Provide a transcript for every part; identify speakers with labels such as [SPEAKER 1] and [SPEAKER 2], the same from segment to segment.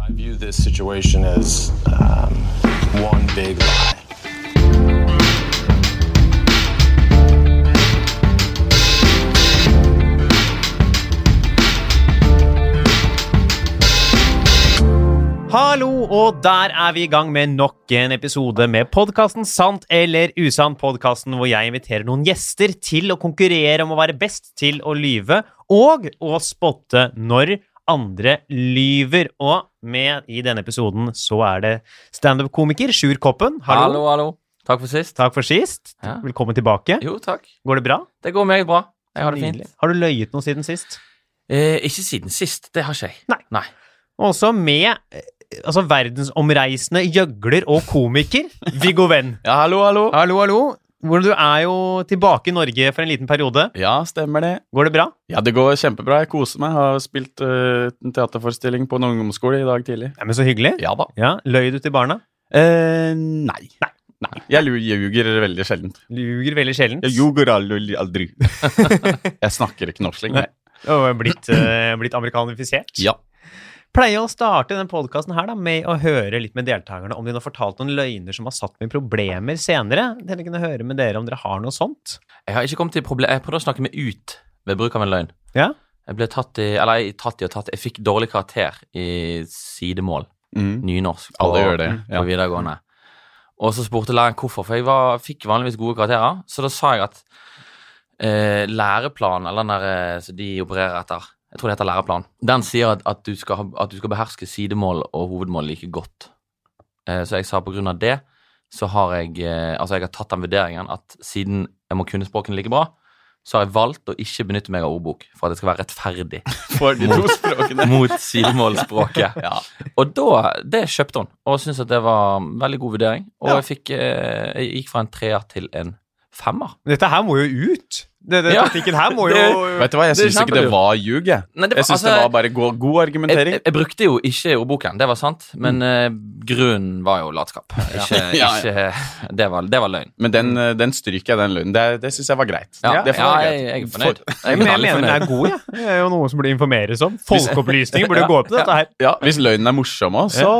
[SPEAKER 1] I view this situation as um, one big lie.
[SPEAKER 2] Hallo, og der er vi i gang med nok en episode med podkasten Sant eller usant. Podkasten hvor jeg inviterer noen gjester til å konkurrere om å være best til å lyve og å spotte når andre lyver. Og med i denne episoden så er det standup-komiker Sjur Koppen.
[SPEAKER 3] Hallo,
[SPEAKER 2] Hallo.
[SPEAKER 3] hallo. Takk for sist.
[SPEAKER 2] Takk for sist.
[SPEAKER 3] Ja.
[SPEAKER 2] Velkommen tilbake.
[SPEAKER 3] Jo, takk.
[SPEAKER 2] Går det bra?
[SPEAKER 3] Det går meget bra. Jeg har det fint.
[SPEAKER 2] Har du løyet noe siden sist?
[SPEAKER 3] Eh, ikke siden sist. Det har ikke jeg.
[SPEAKER 2] Nei. Og også med eh, altså, verdensomreisende gjøgler og komiker Viggo Venn.
[SPEAKER 4] Ja, hallo, hallo.
[SPEAKER 2] Hallo, hallo. Hvordan du er jo tilbake i Norge for en liten periode.
[SPEAKER 4] Ja, stemmer det.
[SPEAKER 2] Går det bra?
[SPEAKER 4] Ja, det går kjempebra. Jeg koser meg. Har spilt eh, en teaterforestilling på en ungdomsskole i dag tidlig.
[SPEAKER 2] Ja, men Så hyggelig.
[SPEAKER 4] Ja da.
[SPEAKER 2] Ja, Løy du til barna?
[SPEAKER 4] Eh, nei. nei. Nei. Jeg lu- jeg ljuger veldig sjelden.
[SPEAKER 2] Luger veldig sjelden.
[SPEAKER 4] Jeg ljuger aldri. aldri. jeg snakker ikke norsk lenger.
[SPEAKER 2] Og er blitt, eh, blitt amerikanifisert.
[SPEAKER 4] Ja.
[SPEAKER 2] Pleier å starte denne podkasten her da, med å høre litt med deltakerne om de har fortalt noen løgner som har satt meg i problemer senere. Dere kunne høre med dere om dere har noe sånt.
[SPEAKER 3] Jeg har ikke kommet til problem... Jeg prøvde å snakke meg ut ved bruk av en løgn.
[SPEAKER 2] Ja.
[SPEAKER 3] Jeg ble tatt i Eller jeg, tatt i og tatt Jeg fikk dårlig karakter i sidemål.
[SPEAKER 4] Mm.
[SPEAKER 3] Nynorsk.
[SPEAKER 4] Alle gjør det.
[SPEAKER 3] på
[SPEAKER 4] Ja.
[SPEAKER 3] videregående. Og så spurte læreren hvorfor, for jeg var, fikk vanligvis gode karakterer. Så da sa jeg at eh, læreplanen, eller den der eh, som de opererer etter, jeg tror det heter læreplan, den sier at, at, du, skal, ha- at du skal beherske sidemål og hovedmål like godt. Eh, så jeg sa på grunn av det, så har jeg, eh, altså jeg har tatt den vurderingen at siden jeg må kunne språkene like bra, så har jeg valgt å ikke benytte meg av ordbok for at det skal være rettferdig
[SPEAKER 4] For de to språkene.
[SPEAKER 3] mot sidemålsspråket. Og da, det kjøpte hun, og syntes at det var en veldig god vurdering. Og
[SPEAKER 2] Ja.
[SPEAKER 3] jeg, fikk, eh, jeg gikk fra en treer til en femmer.
[SPEAKER 2] Dette her må jo ut! Denne
[SPEAKER 3] Ja.
[SPEAKER 2] taktikken her må
[SPEAKER 3] Det-
[SPEAKER 2] jo
[SPEAKER 4] Vet du hva, jeg
[SPEAKER 3] Det
[SPEAKER 4] syns ikke
[SPEAKER 3] skjønner
[SPEAKER 4] det
[SPEAKER 3] du.
[SPEAKER 4] var ljug, jeg.
[SPEAKER 3] Nei, det var-
[SPEAKER 4] Jeg syns det
[SPEAKER 3] altså,
[SPEAKER 4] var bare god, god
[SPEAKER 3] jeg,
[SPEAKER 4] argumentering.
[SPEAKER 3] jeg, jeg brukte jo ikke ordboken, det var sant, men eh, grunnen var jo latskap. Ikke,
[SPEAKER 4] Mm. Ja,
[SPEAKER 3] ikke det, var, det var løgn.
[SPEAKER 4] Men den, eh, den stryker jeg, den løgnen. Det, det syns jeg var greit.
[SPEAKER 3] Ja,
[SPEAKER 4] det får
[SPEAKER 3] ja,
[SPEAKER 4] være
[SPEAKER 3] jeg,
[SPEAKER 4] greit.
[SPEAKER 3] jeg er fornøyd.
[SPEAKER 2] Nei,
[SPEAKER 3] Jeg
[SPEAKER 2] men jeg
[SPEAKER 3] er veldig
[SPEAKER 2] mener den er
[SPEAKER 3] fornøyd.
[SPEAKER 2] god, jeg. Det er jo noe som burde informeres om. Folkeopplysning burde
[SPEAKER 3] Ja.
[SPEAKER 2] gå på dette her.
[SPEAKER 4] Ja, hvis løgnen er morsom òg, så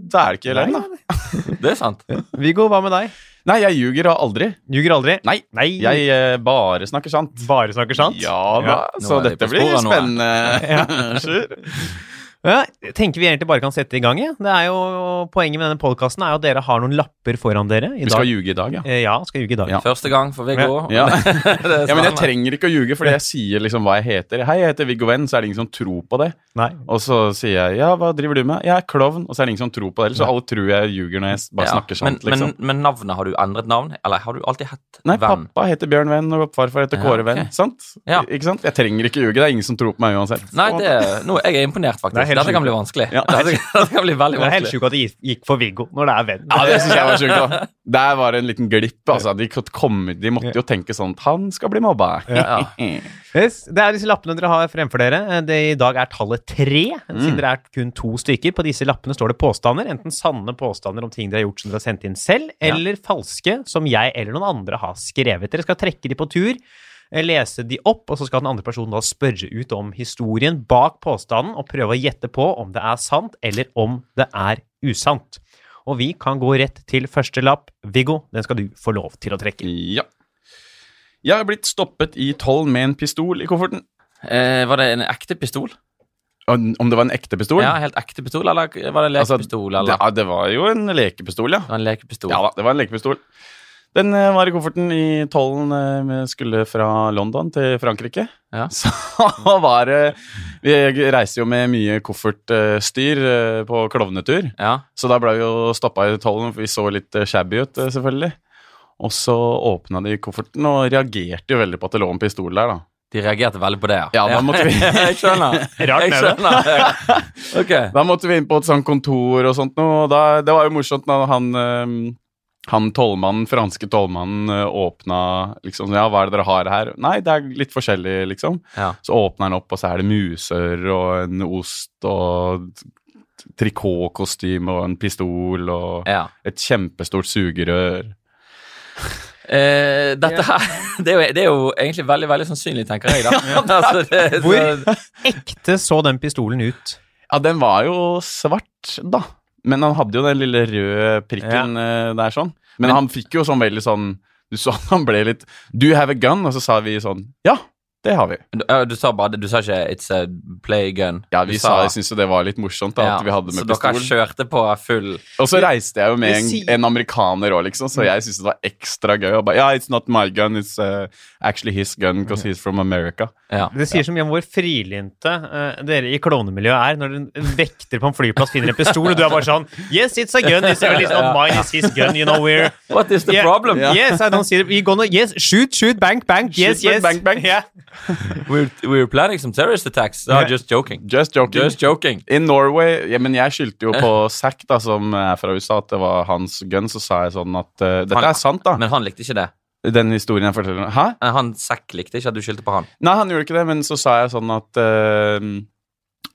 [SPEAKER 4] da er det ikke løgn, da.
[SPEAKER 3] Det er sant.
[SPEAKER 2] Viggo, hva med deg?
[SPEAKER 4] Nei, jeg ljuger og aldri.
[SPEAKER 2] Ljuger aldri?
[SPEAKER 4] Nei,
[SPEAKER 2] Nei.
[SPEAKER 4] jeg eh, bare snakker sant.
[SPEAKER 2] Bare snakker sant?
[SPEAKER 4] Ja da,
[SPEAKER 3] Ja, nå
[SPEAKER 4] så
[SPEAKER 3] er vi
[SPEAKER 4] dette
[SPEAKER 3] på
[SPEAKER 4] blir
[SPEAKER 3] sporet nå,
[SPEAKER 4] spennende. Sjur.
[SPEAKER 2] Ja, jeg tenker vi egentlig bare kan sette i gang, jeg. Det er jo, poenget med denne podkasten er jo at dere har noen lapper foran dere i
[SPEAKER 4] Vi
[SPEAKER 2] dag.
[SPEAKER 4] skal ljuge i dag, ja.
[SPEAKER 2] Eh, ja, skal ljuge i dag.
[SPEAKER 4] Ja.
[SPEAKER 3] Første gang for Viggo.
[SPEAKER 4] Ja.
[SPEAKER 3] Det er
[SPEAKER 4] ja. Men jeg
[SPEAKER 3] spennende.
[SPEAKER 4] trenger ikke å ljuge, fordi jeg sier liksom hva jeg heter. Hei, jeg heter Viggo Venn, så er det ingen som tror på det.
[SPEAKER 2] Nei.
[SPEAKER 4] Og så sier jeg ja, hva driver du med? Jeg er klovn, og så er det ingen som tror på det. Ellers så alle tror jeg ljuger når jeg s- bare
[SPEAKER 3] Ja,
[SPEAKER 4] snakker sant,
[SPEAKER 3] men,
[SPEAKER 4] liksom.
[SPEAKER 3] men, men navnet, har du endret navn? Eller har du alltid hett
[SPEAKER 4] Nei,
[SPEAKER 3] Venn?
[SPEAKER 4] pappa heter Bjørn Venn, og farfar heter
[SPEAKER 3] Ja,
[SPEAKER 4] Kåre
[SPEAKER 3] ok.
[SPEAKER 4] Venn. Sant?
[SPEAKER 3] Ja.
[SPEAKER 4] Ikke sant? Jeg trenger ikke ljuge, det er ingen som tror på meg uansett.
[SPEAKER 3] Nei, det, nå, jeg er imponert, faktisk.
[SPEAKER 2] Det er helt
[SPEAKER 3] Dette kan
[SPEAKER 2] sjukt.
[SPEAKER 3] bli vanskelig.
[SPEAKER 4] Ja.
[SPEAKER 3] Dette, dette kan bli veldig
[SPEAKER 2] Det er helt
[SPEAKER 3] vanskelig.
[SPEAKER 2] sjukt at det gikk- gikk for Viggo når det er venn.
[SPEAKER 4] Ja, det syns jeg var sjukt. da. Der var det en liten glipp. altså. De, kom, de måtte jo tenke sånn at han skal bli mobba.
[SPEAKER 3] Ja.
[SPEAKER 2] Yes, det er disse lappene dere har fremfor dere. Eh, Det I dag er tallet tre, siden dere er kun to stykker. På disse lappene står det påstander, enten sanne påstander om ting dere har gjort som dere har sendt inn selv,
[SPEAKER 3] Ja.
[SPEAKER 2] eller falske som jeg eller noen andre har skrevet. Dere skal trekke de på tur, eh, lese de opp, og så skal den andre personen da spørre ut om historien bak påstanden og prøve å gjette på om det er sant, eller om det er usant. Og vi kan gå rett til første lapp. Viggo, den skal du få lov til å trekke.
[SPEAKER 4] Ja. Jeg har blitt stoppet i tollen med en pistol i kofferten.
[SPEAKER 3] Eh, var det en ekte pistol?
[SPEAKER 4] Om om det var en ekte pistol?
[SPEAKER 3] Ja, helt ekte pistol, eller var det en
[SPEAKER 4] Altså,
[SPEAKER 3] lekepistol? eller?
[SPEAKER 4] Ja, det var jo en lekepistol, ja.
[SPEAKER 3] Det var en lekepistol.
[SPEAKER 4] Ja da, det var en lekepistol. Den eh, var i kofferten i tollen eh, vi skulle fra London til Frankrike.
[SPEAKER 3] Ja.
[SPEAKER 4] Så var det Vi reiser jo med mye koffertstyr eh, på klovnetur,
[SPEAKER 3] Ja.
[SPEAKER 4] så da ble vi jo stoppa i tollen, for vi så litt eh, shabby ut, eh, selvfølgelig. Og så åpna de kofferten og reagerte jo veldig på at det lå en pistol der, da.
[SPEAKER 3] De reagerte veldig på det, ja.
[SPEAKER 4] Ja, da måtte vi-
[SPEAKER 3] jeg skjønner.
[SPEAKER 2] Rart
[SPEAKER 3] Jeg
[SPEAKER 2] med det.
[SPEAKER 3] skjønner. Ok.
[SPEAKER 4] Da måtte vi inn på et sånt kontor og sånt noe, og da, det var jo morsomt da han, eh, han tollmannen, franske tollmannen, eh, åpna liksom Ja, hva er det dere har her? Nei, det er litt forskjellig, liksom.
[SPEAKER 3] Ja.
[SPEAKER 4] Så åpner han opp, og så er det muser og en ost og t- trikotkostyme og en pistol og
[SPEAKER 3] ja.
[SPEAKER 4] et kjempestort sugerør.
[SPEAKER 3] Eh, dette her det er, jo, det er jo egentlig veldig veldig sannsynlig, tenker jeg. da. altså, det,
[SPEAKER 2] Hvor ekte så den pistolen ut?
[SPEAKER 4] Ja, den var jo svart, da. Men han hadde jo den lille røde prikken eh, der sånn. Men,
[SPEAKER 3] Men-
[SPEAKER 4] han fikk jo sånn veldig sånn Du så han ble litt Do you have a gun? Og så sa vi sånn Ja, det har vi.
[SPEAKER 3] Du, ja, du sa bare det, du sa ikke 'it's a play gun'.
[SPEAKER 4] Ja, vi
[SPEAKER 3] du
[SPEAKER 4] sa Jeg syntes jo det var litt morsomt, da, at vi hadde
[SPEAKER 3] så
[SPEAKER 4] med
[SPEAKER 3] dere
[SPEAKER 4] pistol.
[SPEAKER 3] kjørte på full
[SPEAKER 4] Og så reiste jeg jo med
[SPEAKER 2] Det
[SPEAKER 4] en,
[SPEAKER 2] sier-
[SPEAKER 4] en amerikaner òg, liksom, så jeg syntes det var ekstra gøy. Og bare, ja, it's not my gun, it's eh, actually his gun, because he's from America.
[SPEAKER 3] ja.
[SPEAKER 2] Det sier så mye om hvor frilynte eh, dere i klovnemiljøet er når en vekter på en flyplass finner en pistol, og du er bare sånn Yes, it's a gun. It's really not mine. It's his gun. You know we're
[SPEAKER 3] What is the
[SPEAKER 2] Yeah,
[SPEAKER 3] problem?
[SPEAKER 2] Yes, I don't see it. We're gonna Yes, shoot, shoot, bank, bank. Yes,
[SPEAKER 4] Shoot,
[SPEAKER 2] yes.
[SPEAKER 4] bank, bank, bank.
[SPEAKER 2] Yeah.
[SPEAKER 3] We're, we're planning some terrorist attacks. No,
[SPEAKER 2] Ja.
[SPEAKER 3] just joking.
[SPEAKER 4] Just joking.
[SPEAKER 3] Just joking.
[SPEAKER 4] In Norway ja, Men jeg skyldte jo på Zack, da, som er fra USA, at det var hans gun. Så sa jeg sånn at eh, Dette
[SPEAKER 3] Han-
[SPEAKER 4] er sant, da.
[SPEAKER 3] Men han likte ikke det.
[SPEAKER 4] Den historien jeg forteller nå. Hæ?
[SPEAKER 3] Eh, Han Zack likte ikke at du skyldte på han.
[SPEAKER 4] Nei, han gjorde ikke det, men så sa jeg sånn at eh,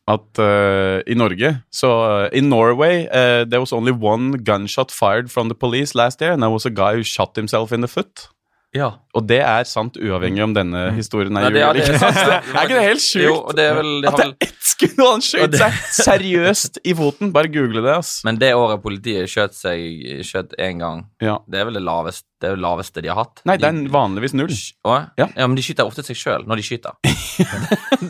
[SPEAKER 4] At eh, i Norge Så eh, in Norway eh, There was only one gunshot fired from the police last year And there was a guy who shot himself in the foot
[SPEAKER 3] Ja.
[SPEAKER 4] Og det er sant uavhengig om denne historien er
[SPEAKER 3] Mm. Nei, det
[SPEAKER 4] jul
[SPEAKER 3] er- det er sant, det.
[SPEAKER 4] Er ikke det helt sjukt?
[SPEAKER 3] Jo, og det er vel, det har
[SPEAKER 4] At det
[SPEAKER 3] vel
[SPEAKER 4] er ett skudd og han
[SPEAKER 3] Og
[SPEAKER 4] skjøt
[SPEAKER 3] det-
[SPEAKER 4] seg seriøst i foten Bare google det, ass
[SPEAKER 3] Men det året politiet skjøt seg skjøt én gang,
[SPEAKER 4] ja.
[SPEAKER 3] det er vel det laveste, det, er det laveste de har hatt?
[SPEAKER 4] Nei, det er
[SPEAKER 3] de,
[SPEAKER 4] vanligvis null
[SPEAKER 3] Å,
[SPEAKER 4] Ja.
[SPEAKER 3] ja. men de skyter ofte seg sjøl når de skyter.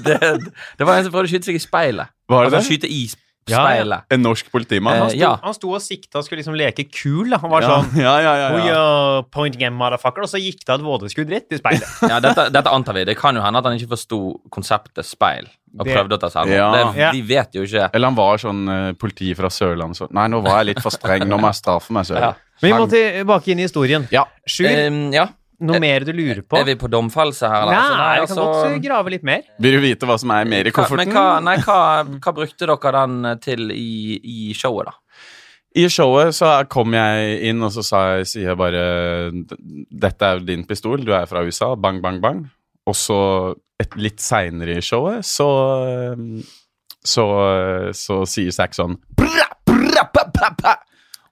[SPEAKER 3] det, det var en som prøvde å skyte seg i speilet.
[SPEAKER 4] Var det
[SPEAKER 3] altså,
[SPEAKER 4] det?
[SPEAKER 3] skyte i sp-
[SPEAKER 2] Ja, ja.
[SPEAKER 3] speilet.
[SPEAKER 4] En norsk politimann
[SPEAKER 3] Eh,
[SPEAKER 4] altså. han sto-
[SPEAKER 3] ja.
[SPEAKER 2] Han sto og sikta og skulle liksom leke kul. Da. Han var
[SPEAKER 4] Eh, ja,
[SPEAKER 2] sånn
[SPEAKER 4] ja, ja, ja,
[SPEAKER 2] We
[SPEAKER 4] ja.
[SPEAKER 2] are pointing at motherfucker, og så gikk det et vådeskudd rett i speilet.
[SPEAKER 3] Ja, dette, dette antar vi. Det kan jo hende at han ikke forsto konseptet speil og
[SPEAKER 2] Det-
[SPEAKER 3] prøvde å ta seg
[SPEAKER 4] Ja.
[SPEAKER 3] av.
[SPEAKER 2] Ja.
[SPEAKER 3] Ja. De vet jo ikke.
[SPEAKER 4] Eller han var sånn eh, politi fra Sørland så. Nei, nå var jeg litt for streng, nå må jeg straffe meg selv
[SPEAKER 3] Ja.
[SPEAKER 2] Men vi må tilbake inn i historien.
[SPEAKER 4] Ja.
[SPEAKER 2] Sjur,
[SPEAKER 3] Ehm, ja.
[SPEAKER 2] noe mer du lurer på?
[SPEAKER 3] Er vi på domfellelse
[SPEAKER 2] Ja,
[SPEAKER 3] her?
[SPEAKER 2] vi
[SPEAKER 3] eller? Altså, nei,
[SPEAKER 2] kan godt eh,
[SPEAKER 3] altså,
[SPEAKER 2] grave litt mer.
[SPEAKER 4] Vil du vite hva som er mer i
[SPEAKER 3] hva,
[SPEAKER 4] kofferten?
[SPEAKER 3] men hva, nei, hva, hva brukte dere den til i, i showet, da?
[SPEAKER 4] I showet så kom jeg inn, og så sa jeg, sier jeg bare Dette er din pistol, du er fra USA. Bang, bang, bang. Og så et litt seinere i showet så Så, så sier Zack sånn «Bra, bra, pa, pa, pa!»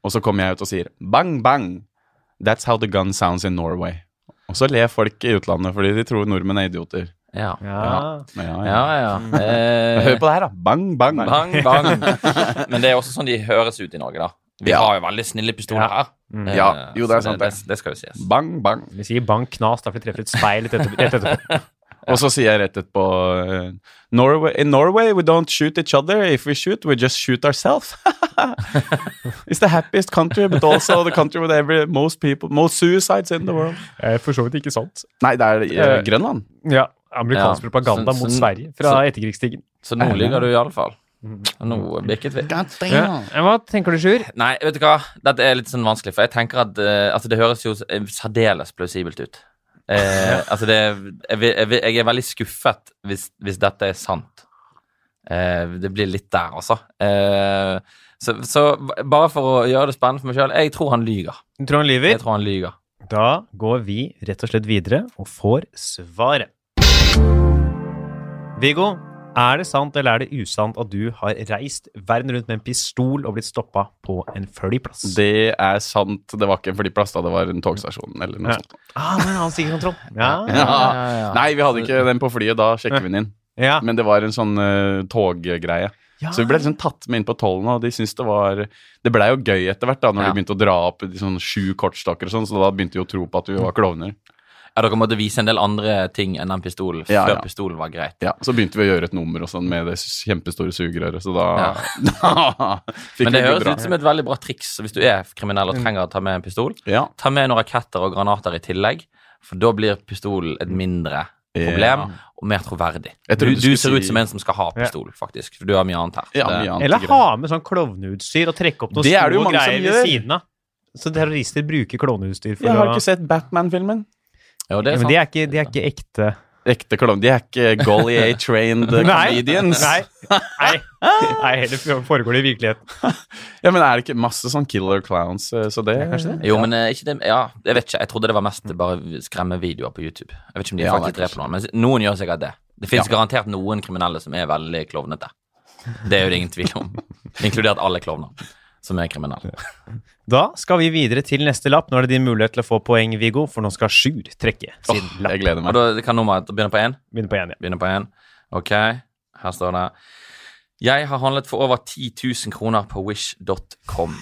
[SPEAKER 4] Og så kommer jeg ut og sier bang, bang. That's how the gun sounds in Norway. Og så ler folk i utlandet fordi de tror nordmenn er idioter.
[SPEAKER 3] Ja,
[SPEAKER 2] Ja.
[SPEAKER 4] Men ja, ja.
[SPEAKER 3] ja. ja. Eh,
[SPEAKER 4] Hør på det her, da. Bang, bang.
[SPEAKER 3] Bang, bang. Men det er også sånn de høres ut i Norge, da. Vi
[SPEAKER 4] Ja.
[SPEAKER 3] har jo veldig snille pistoler her. Eh,
[SPEAKER 4] Ja, jo, det er
[SPEAKER 3] så
[SPEAKER 4] sant,
[SPEAKER 3] Det,
[SPEAKER 4] det.
[SPEAKER 3] det, det skal jo sies.
[SPEAKER 4] Bang, bang.
[SPEAKER 2] Vi sier bank knas, da, for vi treffer et speil rett etter- rett etterpå.
[SPEAKER 4] Og så sier jeg rett etterpå eh, Norway, In Norway we don't shoot each other. If we shoot, we just shoot ourselves. It's the happiest country, but also the country with every, most people, most suicides in the world.
[SPEAKER 2] Eh, For så vidt ikke sant.
[SPEAKER 4] Nei, det er eh, Grønland.
[SPEAKER 2] Ja, Amerikansk
[SPEAKER 3] Ja,
[SPEAKER 2] propaganda
[SPEAKER 3] så-
[SPEAKER 2] mot
[SPEAKER 3] så-
[SPEAKER 2] Sverige fra etterkrigstiden.
[SPEAKER 3] Så nå lyver du iallfall. Nå bikket vi.
[SPEAKER 2] Hva tenker du, Sjur?
[SPEAKER 3] Nei, vet du hva? Dette er litt sånn vanskelig, for jeg tenker at eh, altså, det høres jo eh, særdeles plausibelt ut. Eh, altså det, jeg, vil- jeg, vil- jeg er veldig skuffet hvis, hvis dette er sant. Eh, det blir litt der, altså. Eh, så, så bare for å gjøre det spennende for meg sjøl, jeg tror han lyver.
[SPEAKER 2] Du tror han lyver?
[SPEAKER 3] Jeg tror han lyver.
[SPEAKER 2] Da går vi rett og slett videre og får svaret. Viggo, er det sant eller er det usant at du har reist verden rundt med en pistol og blitt stoppa på en flyplass?
[SPEAKER 4] Det er sant. Det var ikke en flyplass, da. Det var en togstasjon eller noe
[SPEAKER 2] Ja.
[SPEAKER 4] sånt.
[SPEAKER 2] Ah, men han stikker kontroll. Ja.
[SPEAKER 4] Ja.
[SPEAKER 3] ja, ja.
[SPEAKER 4] Nei, vi hadde ikke den på flyet. Da sjekker vi den inn.
[SPEAKER 2] ja.
[SPEAKER 4] Men det var en sånn eh, toggreie.
[SPEAKER 2] ja.
[SPEAKER 4] Så vi ble liksom tatt med inn på tollene, og de syntes det var Det blei jo gøy etter hvert, da, når
[SPEAKER 3] Ja.
[SPEAKER 4] de begynte å dra opp de sånn sju kortstokker og sånn, så da begynte de å tro på at vi var klovner.
[SPEAKER 3] Ja, dere måtte vise en del andre ting enn den pistolen
[SPEAKER 4] Ja,
[SPEAKER 3] før
[SPEAKER 4] ja.
[SPEAKER 3] pistolen var greit.
[SPEAKER 4] Ja, Så begynte vi å gjøre et nummer og sånn med det s- kjempestore sugerøret, så da, da fikk
[SPEAKER 3] Men det
[SPEAKER 4] vi det
[SPEAKER 3] høres
[SPEAKER 4] bra. Mm.
[SPEAKER 3] ut som et veldig bra triks hvis du er kriminell og trenger å ta med en pistol.
[SPEAKER 4] Ja.
[SPEAKER 3] Ta med noen raketter og granater i tillegg, for da blir pistolen et mindre
[SPEAKER 4] Ja.
[SPEAKER 3] problem og mer troverdig.
[SPEAKER 4] Jeg
[SPEAKER 3] Du,
[SPEAKER 4] trodde du
[SPEAKER 3] du
[SPEAKER 4] skulle
[SPEAKER 3] ser ut
[SPEAKER 4] si-
[SPEAKER 3] som en som skal ha pistol, faktisk. For du har mye annet her.
[SPEAKER 4] Ja,
[SPEAKER 3] Det-
[SPEAKER 4] mye annet
[SPEAKER 2] Eller
[SPEAKER 4] greier.
[SPEAKER 2] ha med sånn klovneutstyr og trekke opp noen
[SPEAKER 4] Det er det jo
[SPEAKER 2] store
[SPEAKER 4] mange som
[SPEAKER 2] greier
[SPEAKER 4] gjør.
[SPEAKER 2] ved siden av. Så terrorister bruker klovneutstyr for
[SPEAKER 4] Jeg har
[SPEAKER 2] å
[SPEAKER 4] ikke sett Batman-filmen.
[SPEAKER 3] Jo, det
[SPEAKER 2] Ja,
[SPEAKER 3] er
[SPEAKER 2] Men
[SPEAKER 3] sant.
[SPEAKER 2] det er ikke, det er ikke ekte
[SPEAKER 4] Ekte klovner. De er ikke Gollier-trained comedians.
[SPEAKER 2] Nei. Nei. Nei, heller foregår det i virkeligheten.
[SPEAKER 4] Ja, Men er det ikke masse sånn killer clowns, eh, så det,
[SPEAKER 2] kanskje
[SPEAKER 3] Jo, men eh, ikke det Ja, jeg vet ikke. Jeg trodde det var mest bare skremmevideoer på YouTube. Jeg vet ikke om de
[SPEAKER 4] Ja,
[SPEAKER 3] faktisk
[SPEAKER 4] det er
[SPEAKER 3] dreper noen, men noen gjør sikkert det. Det fins garantert noen kriminelle som er veldig klovnete. Det er jo det ingen tvil om. Inkludert alle klovner som er kriminelle.
[SPEAKER 2] Da skal vi videre til neste lapp. Nå er det din mulighet til å få poeng, Viggo, for nå skal Sjur trekke
[SPEAKER 4] Åh,
[SPEAKER 2] sin lapp.
[SPEAKER 4] Jeg gleder
[SPEAKER 3] Og
[SPEAKER 4] meg.
[SPEAKER 3] da kan nummeret begynne på én?
[SPEAKER 2] Begynner på én igjen.
[SPEAKER 3] Begynner på én. Ok, her står det Jeg har handlet for over 10 000 kroner på wish.com.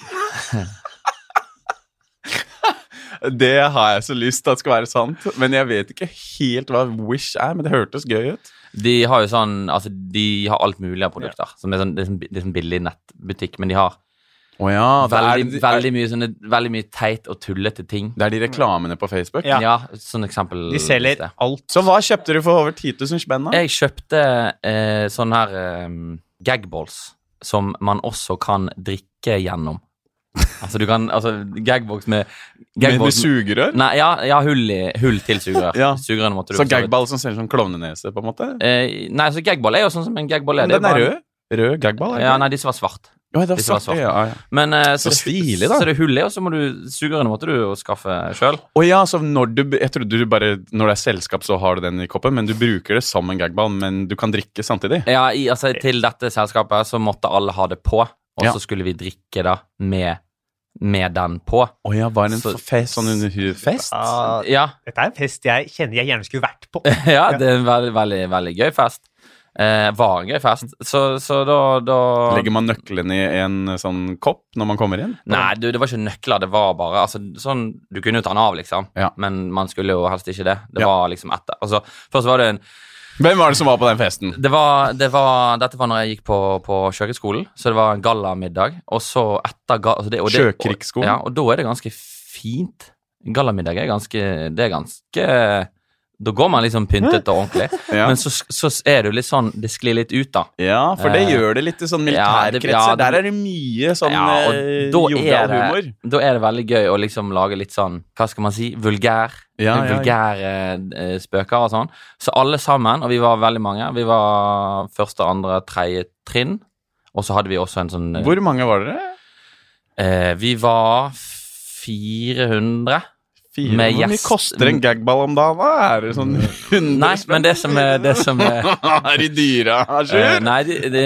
[SPEAKER 4] Det har jeg så lyst til at skal være sant, men jeg vet ikke helt hva Wish er. Men det hørtes gøy ut.
[SPEAKER 3] De har jo sånn Altså, de har alt mulig av produkter. Som er sånn, det, er sånn, bi- det er sånn billig nettbutikk, men de har
[SPEAKER 4] Å ja, det er,
[SPEAKER 3] veldig, veldig, mye sånne, veldig mye teit og tullete ting.
[SPEAKER 4] det er de reklamene på Facebook.
[SPEAKER 2] Ja.
[SPEAKER 3] Ja, sånn eksempel.
[SPEAKER 2] De selger alt.
[SPEAKER 4] Så hva kjøpte du for over 10 000 spenn? da?
[SPEAKER 3] Jeg kjøpte eh, sånne her eh, gagballs som man også kan drikke gjennom. Altså, du kan Altså, gagbox med
[SPEAKER 4] Med, med
[SPEAKER 3] gagballs-
[SPEAKER 4] sugerør?
[SPEAKER 3] Nei, ja, ja hull, i, hull til sugerør.
[SPEAKER 4] Ja.
[SPEAKER 3] Sugerørene måtte du
[SPEAKER 4] Så
[SPEAKER 3] for så vidt-
[SPEAKER 4] gagball som ser ut som klovnenese, på en måte?
[SPEAKER 3] Eh, nei, så gagball er jo sånn som en gagball er.
[SPEAKER 4] Men
[SPEAKER 3] Det
[SPEAKER 4] den er
[SPEAKER 3] bare-
[SPEAKER 4] rød? Rød gagball? er det
[SPEAKER 3] Ja,
[SPEAKER 4] ikke?
[SPEAKER 3] nei, disse var svart.
[SPEAKER 4] Oi, det var
[SPEAKER 3] hvis det var svart.
[SPEAKER 4] svart, Ja, ja.
[SPEAKER 3] Men eh, så,
[SPEAKER 4] Så
[SPEAKER 3] det-
[SPEAKER 4] stilig, da.
[SPEAKER 3] Så det hullet er, og så må du Sugerørene måtte du jo skaffe sjøl.
[SPEAKER 4] Å ja, så når du, jeg trodde du bare Når det er selskap, så har du den i koppen, men du bruker det som en gagball, men du kan drikke samtidig.
[SPEAKER 3] Ja, i, altså, til dette selskapet så måtte alle ha det på, og
[SPEAKER 4] Eh. Ja.
[SPEAKER 3] så skulle vi drikke da med, med den på.
[SPEAKER 4] Å ja, var det en
[SPEAKER 3] Så-
[SPEAKER 4] fest, sånn en fest?
[SPEAKER 2] Ah,
[SPEAKER 3] Ja,
[SPEAKER 2] dette er en fest jeg kjenner jeg gjerne skulle vært på.
[SPEAKER 3] ja det er en veldig, veldig, veldig gøy fest. Eh, var en gøy fest. Så, så da, da
[SPEAKER 4] Legger man nøklene i en sånn kopp når man kommer inn?
[SPEAKER 3] Nei, du, det var ikke nøkler, det var bare altså, sånn, Du kunne jo ta den av, liksom,
[SPEAKER 4] Ja.
[SPEAKER 3] men man skulle jo helst ikke det. Det
[SPEAKER 4] Ja.
[SPEAKER 3] var liksom etter. Altså, først var det en
[SPEAKER 4] Hvem var det som var på den festen?
[SPEAKER 3] det var, det var, Dette var når jeg gikk på, på kjøkkenskolen, så det var en gallamiddag. Og så etter ga, altså det, og det, Og,
[SPEAKER 4] Sjøkrigsskolen?
[SPEAKER 3] ja, og da er det ganske fint. Gallamiddag er ganske Det er ganske Da går man liksom pyntet og ordentlig.
[SPEAKER 4] Ja,
[SPEAKER 3] Men så, så er det jo litt sånn Det sklir litt ut, da.
[SPEAKER 4] ja for det
[SPEAKER 3] Eh,
[SPEAKER 4] gjør det litt i sånn
[SPEAKER 3] ja, det-
[SPEAKER 4] militærkretser.
[SPEAKER 3] ja, det-
[SPEAKER 4] Der er det mye sånn
[SPEAKER 3] Ja, og
[SPEAKER 4] eh,
[SPEAKER 3] da er
[SPEAKER 4] jovial
[SPEAKER 3] det-
[SPEAKER 4] humor.
[SPEAKER 3] Da er det veldig gøy å liksom lage litt sånn Hva skal man si? Vulgær.
[SPEAKER 4] Ja, ja,
[SPEAKER 3] vulgære eh, spøker og sånn. Så alle sammen, og vi var veldig mange, vi var første, andre, tredje trinn. Og så hadde vi også en sånn eh,
[SPEAKER 4] Hvor mange var dere?
[SPEAKER 3] Eh, vi var 400. Med
[SPEAKER 4] Fire. Hvor mye
[SPEAKER 3] gjest-
[SPEAKER 4] koster en gagball om dagen? da? Er det sånn 100
[SPEAKER 3] Nei, men det som er, det som er
[SPEAKER 4] Er de dyre?
[SPEAKER 3] eh,
[SPEAKER 4] Asjur?
[SPEAKER 3] Nei, de, de,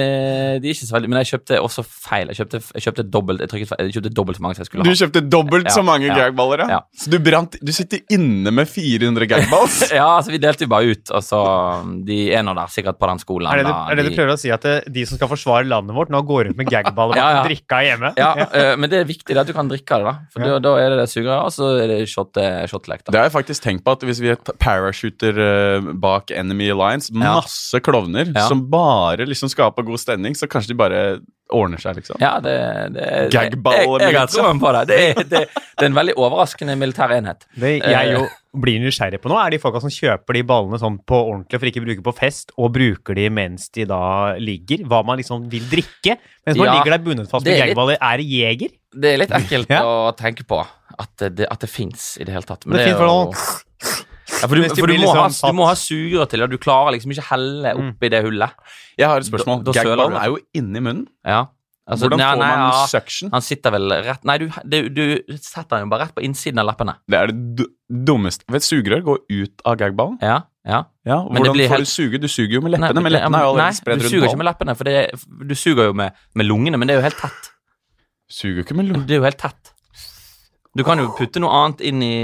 [SPEAKER 3] de er ikke så veldig Men jeg kjøpte også feil. Jeg kjøpte, jeg kjøpte dobbelt jeg, trykket, feil. jeg kjøpte dobbelt så mange som jeg skulle
[SPEAKER 4] Du
[SPEAKER 3] ha.
[SPEAKER 4] kjøpte dobbelt så
[SPEAKER 3] Ja,
[SPEAKER 4] mange
[SPEAKER 3] ja,
[SPEAKER 4] gagballer, ja?
[SPEAKER 3] ja.
[SPEAKER 4] Så du, brant, du sitter inne med 400 gagballs?
[SPEAKER 3] Ja, altså Vi delte jo bare ut, og så um, De er nå der sikkert på den skolen.
[SPEAKER 2] Er det,
[SPEAKER 3] da,
[SPEAKER 2] du- er det du
[SPEAKER 3] de-
[SPEAKER 2] prøver å si at eh, de som skal forsvare landet vårt, nå går rundt med gagball og
[SPEAKER 3] Ja, ja.
[SPEAKER 2] drikka hjemme?
[SPEAKER 3] Ja, eh, men det er viktig det at du kan drikke av det, da. For
[SPEAKER 2] Ja.
[SPEAKER 3] da, da er det det sugerøret, og så er det shot- eh, shotlek.
[SPEAKER 4] Det
[SPEAKER 3] da.
[SPEAKER 4] har jeg faktisk tenkt på at Hvis vi t- parachuter eh, bak Enemy Alliance,
[SPEAKER 3] Ja.
[SPEAKER 4] masse klovner
[SPEAKER 3] Ja.
[SPEAKER 4] som bare liksom skaper god stemning, så kanskje de bare ordner seg, liksom.
[SPEAKER 3] Ja, det, det er-
[SPEAKER 4] Gagball
[SPEAKER 3] Jeg, jeg, har
[SPEAKER 4] militær.
[SPEAKER 3] troen på det. Det er, det, det er en veldig overraskende militær enhet.
[SPEAKER 2] Det jeg
[SPEAKER 3] Eh.
[SPEAKER 2] jo blir nysgjerrig på nå, er de folka som kjøper de ballene sånn på ordentlig for ikke å bruke på fest, og bruker de mens de da ligger. Hva man liksom vil drikke. Mens man
[SPEAKER 3] Ja,
[SPEAKER 2] ligger der bundet fast med
[SPEAKER 3] det er litt-
[SPEAKER 2] gagballer, er det jeger?
[SPEAKER 3] Det er litt ekkelt
[SPEAKER 2] Ja.
[SPEAKER 3] å tenke på at det, at det fins i det hele tatt.
[SPEAKER 2] Det,
[SPEAKER 3] er
[SPEAKER 2] finnes
[SPEAKER 3] jo-
[SPEAKER 2] folk
[SPEAKER 3] ja, for du,
[SPEAKER 2] Mens de
[SPEAKER 3] for du,
[SPEAKER 2] blir
[SPEAKER 3] må
[SPEAKER 2] liksom
[SPEAKER 3] ha,
[SPEAKER 2] tatt.
[SPEAKER 3] du må ha sugerør til det, og du klarer liksom ikke helle
[SPEAKER 4] Mm.
[SPEAKER 3] oppi det hullet.
[SPEAKER 4] Jeg har et spørsmål.
[SPEAKER 3] Da- da søler
[SPEAKER 4] Gagballen
[SPEAKER 3] du.
[SPEAKER 4] er jo inni munnen.
[SPEAKER 3] Ja. Altså,
[SPEAKER 4] Hvordan
[SPEAKER 3] nei,
[SPEAKER 4] får
[SPEAKER 3] nei,
[SPEAKER 4] man
[SPEAKER 3] ja,
[SPEAKER 4] suction?
[SPEAKER 3] Han sitter vel rett Nei, du, du, du setter han jo bare rett på innsiden av leppene.
[SPEAKER 4] Det er det du- dummeste Vet Sugerør går ut av gagballen.
[SPEAKER 3] Ja, ja.
[SPEAKER 4] Ja,
[SPEAKER 3] Men det
[SPEAKER 4] hvordan
[SPEAKER 3] blir
[SPEAKER 4] får
[SPEAKER 3] helt-
[SPEAKER 4] du suge? Du suger jo med leppene, men
[SPEAKER 3] ja,
[SPEAKER 4] leppene er jo allerede
[SPEAKER 3] nei,
[SPEAKER 4] spredt
[SPEAKER 3] du
[SPEAKER 4] rundt
[SPEAKER 3] suger ikke
[SPEAKER 4] ballen.
[SPEAKER 3] med leppene, for det er, du suger jo med, med lungene, men det er jo helt tett.
[SPEAKER 4] Suger jo ikke med lungene.
[SPEAKER 3] Det er jo helt tett. Du kan jo putte noe annet inn i